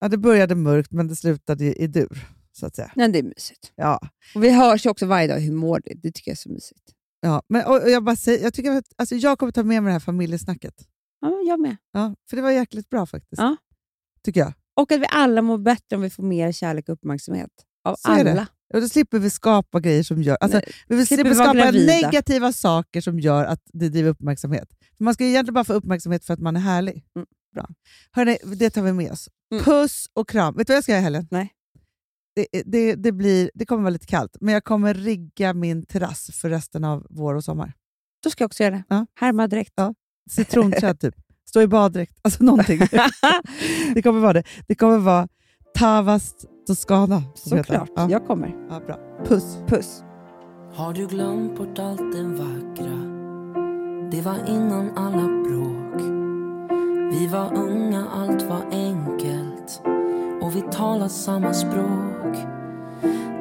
D: ja, det började mörkt men det slutade ju i dur, så att säga.
C: Nej, det är mysigt.
D: Ja.
C: Och vi hörs ju också varje dag hur mår det. Det tycker jag är så mysigt.
D: Ja, men, och, och jag, bara säger, jag, tycker att, alltså, jag kommer ta med mig det här familjesnacket.
C: Ja, men jag med.
D: Ja, för det var jäkligt bra faktiskt.
C: Ja.
D: Tycker jag.
C: Och att vi alla mår bättre om vi får mer kärlek och uppmärksamhet. Av
D: Så är det.
C: alla.
D: Och då slipper vi skapa grejer som gör... Alltså, vi vill
C: slipper
D: slipper
C: vi vara
D: skapa
C: gravida.
D: negativa saker som gör att det driver uppmärksamhet. För man ska ju egentligen bara få uppmärksamhet för att man är härlig.
C: Mm.
D: Bra. Hörrni, det tar vi med oss.
C: Mm.
D: Puss och kram. Vet du vad jag ska göra i helgen?
C: Nej.
D: Det, det, det, blir, det kommer vara lite kallt, men jag kommer rigga min terrass för resten av vår och sommar.
C: Då ska jag också göra det.
D: Ja.
C: Härma direkt.
D: Ja. Citronträd typ. Stå i baddräkt. Alltså någonting. det kommer vara det. Det kommer vara Tavas Toscana. som heter.
C: Såklart.
D: Ja.
C: Jag kommer.
D: Ja, bra. Puss.
C: Puss.
I: Har du glömt bort allt det vackra? Det var innan alla bråk. Vi var unga, allt var enkelt och vi talade samma språk.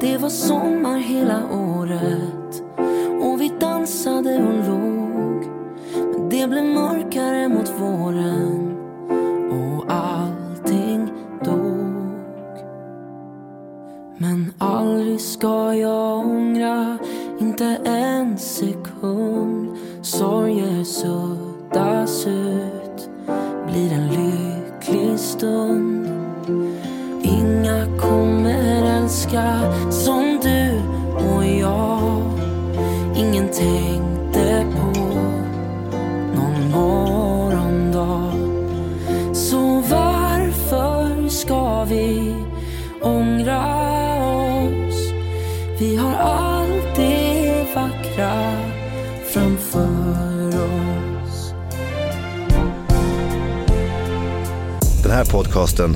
I: Det var sommar hela året och vi dansade och låg. Men det blev mörkare mot våren och allting dog. Men aldrig ska jag ångra, inte en sekund. Sorger suddas ut, blir en lycklig stund. Inga kommer älska som du och jag. Ingen tänkte på någon morgondag. Så varför ska vi ångra oss? Vi har allt det vackra framför oss.
J: Den här podcasten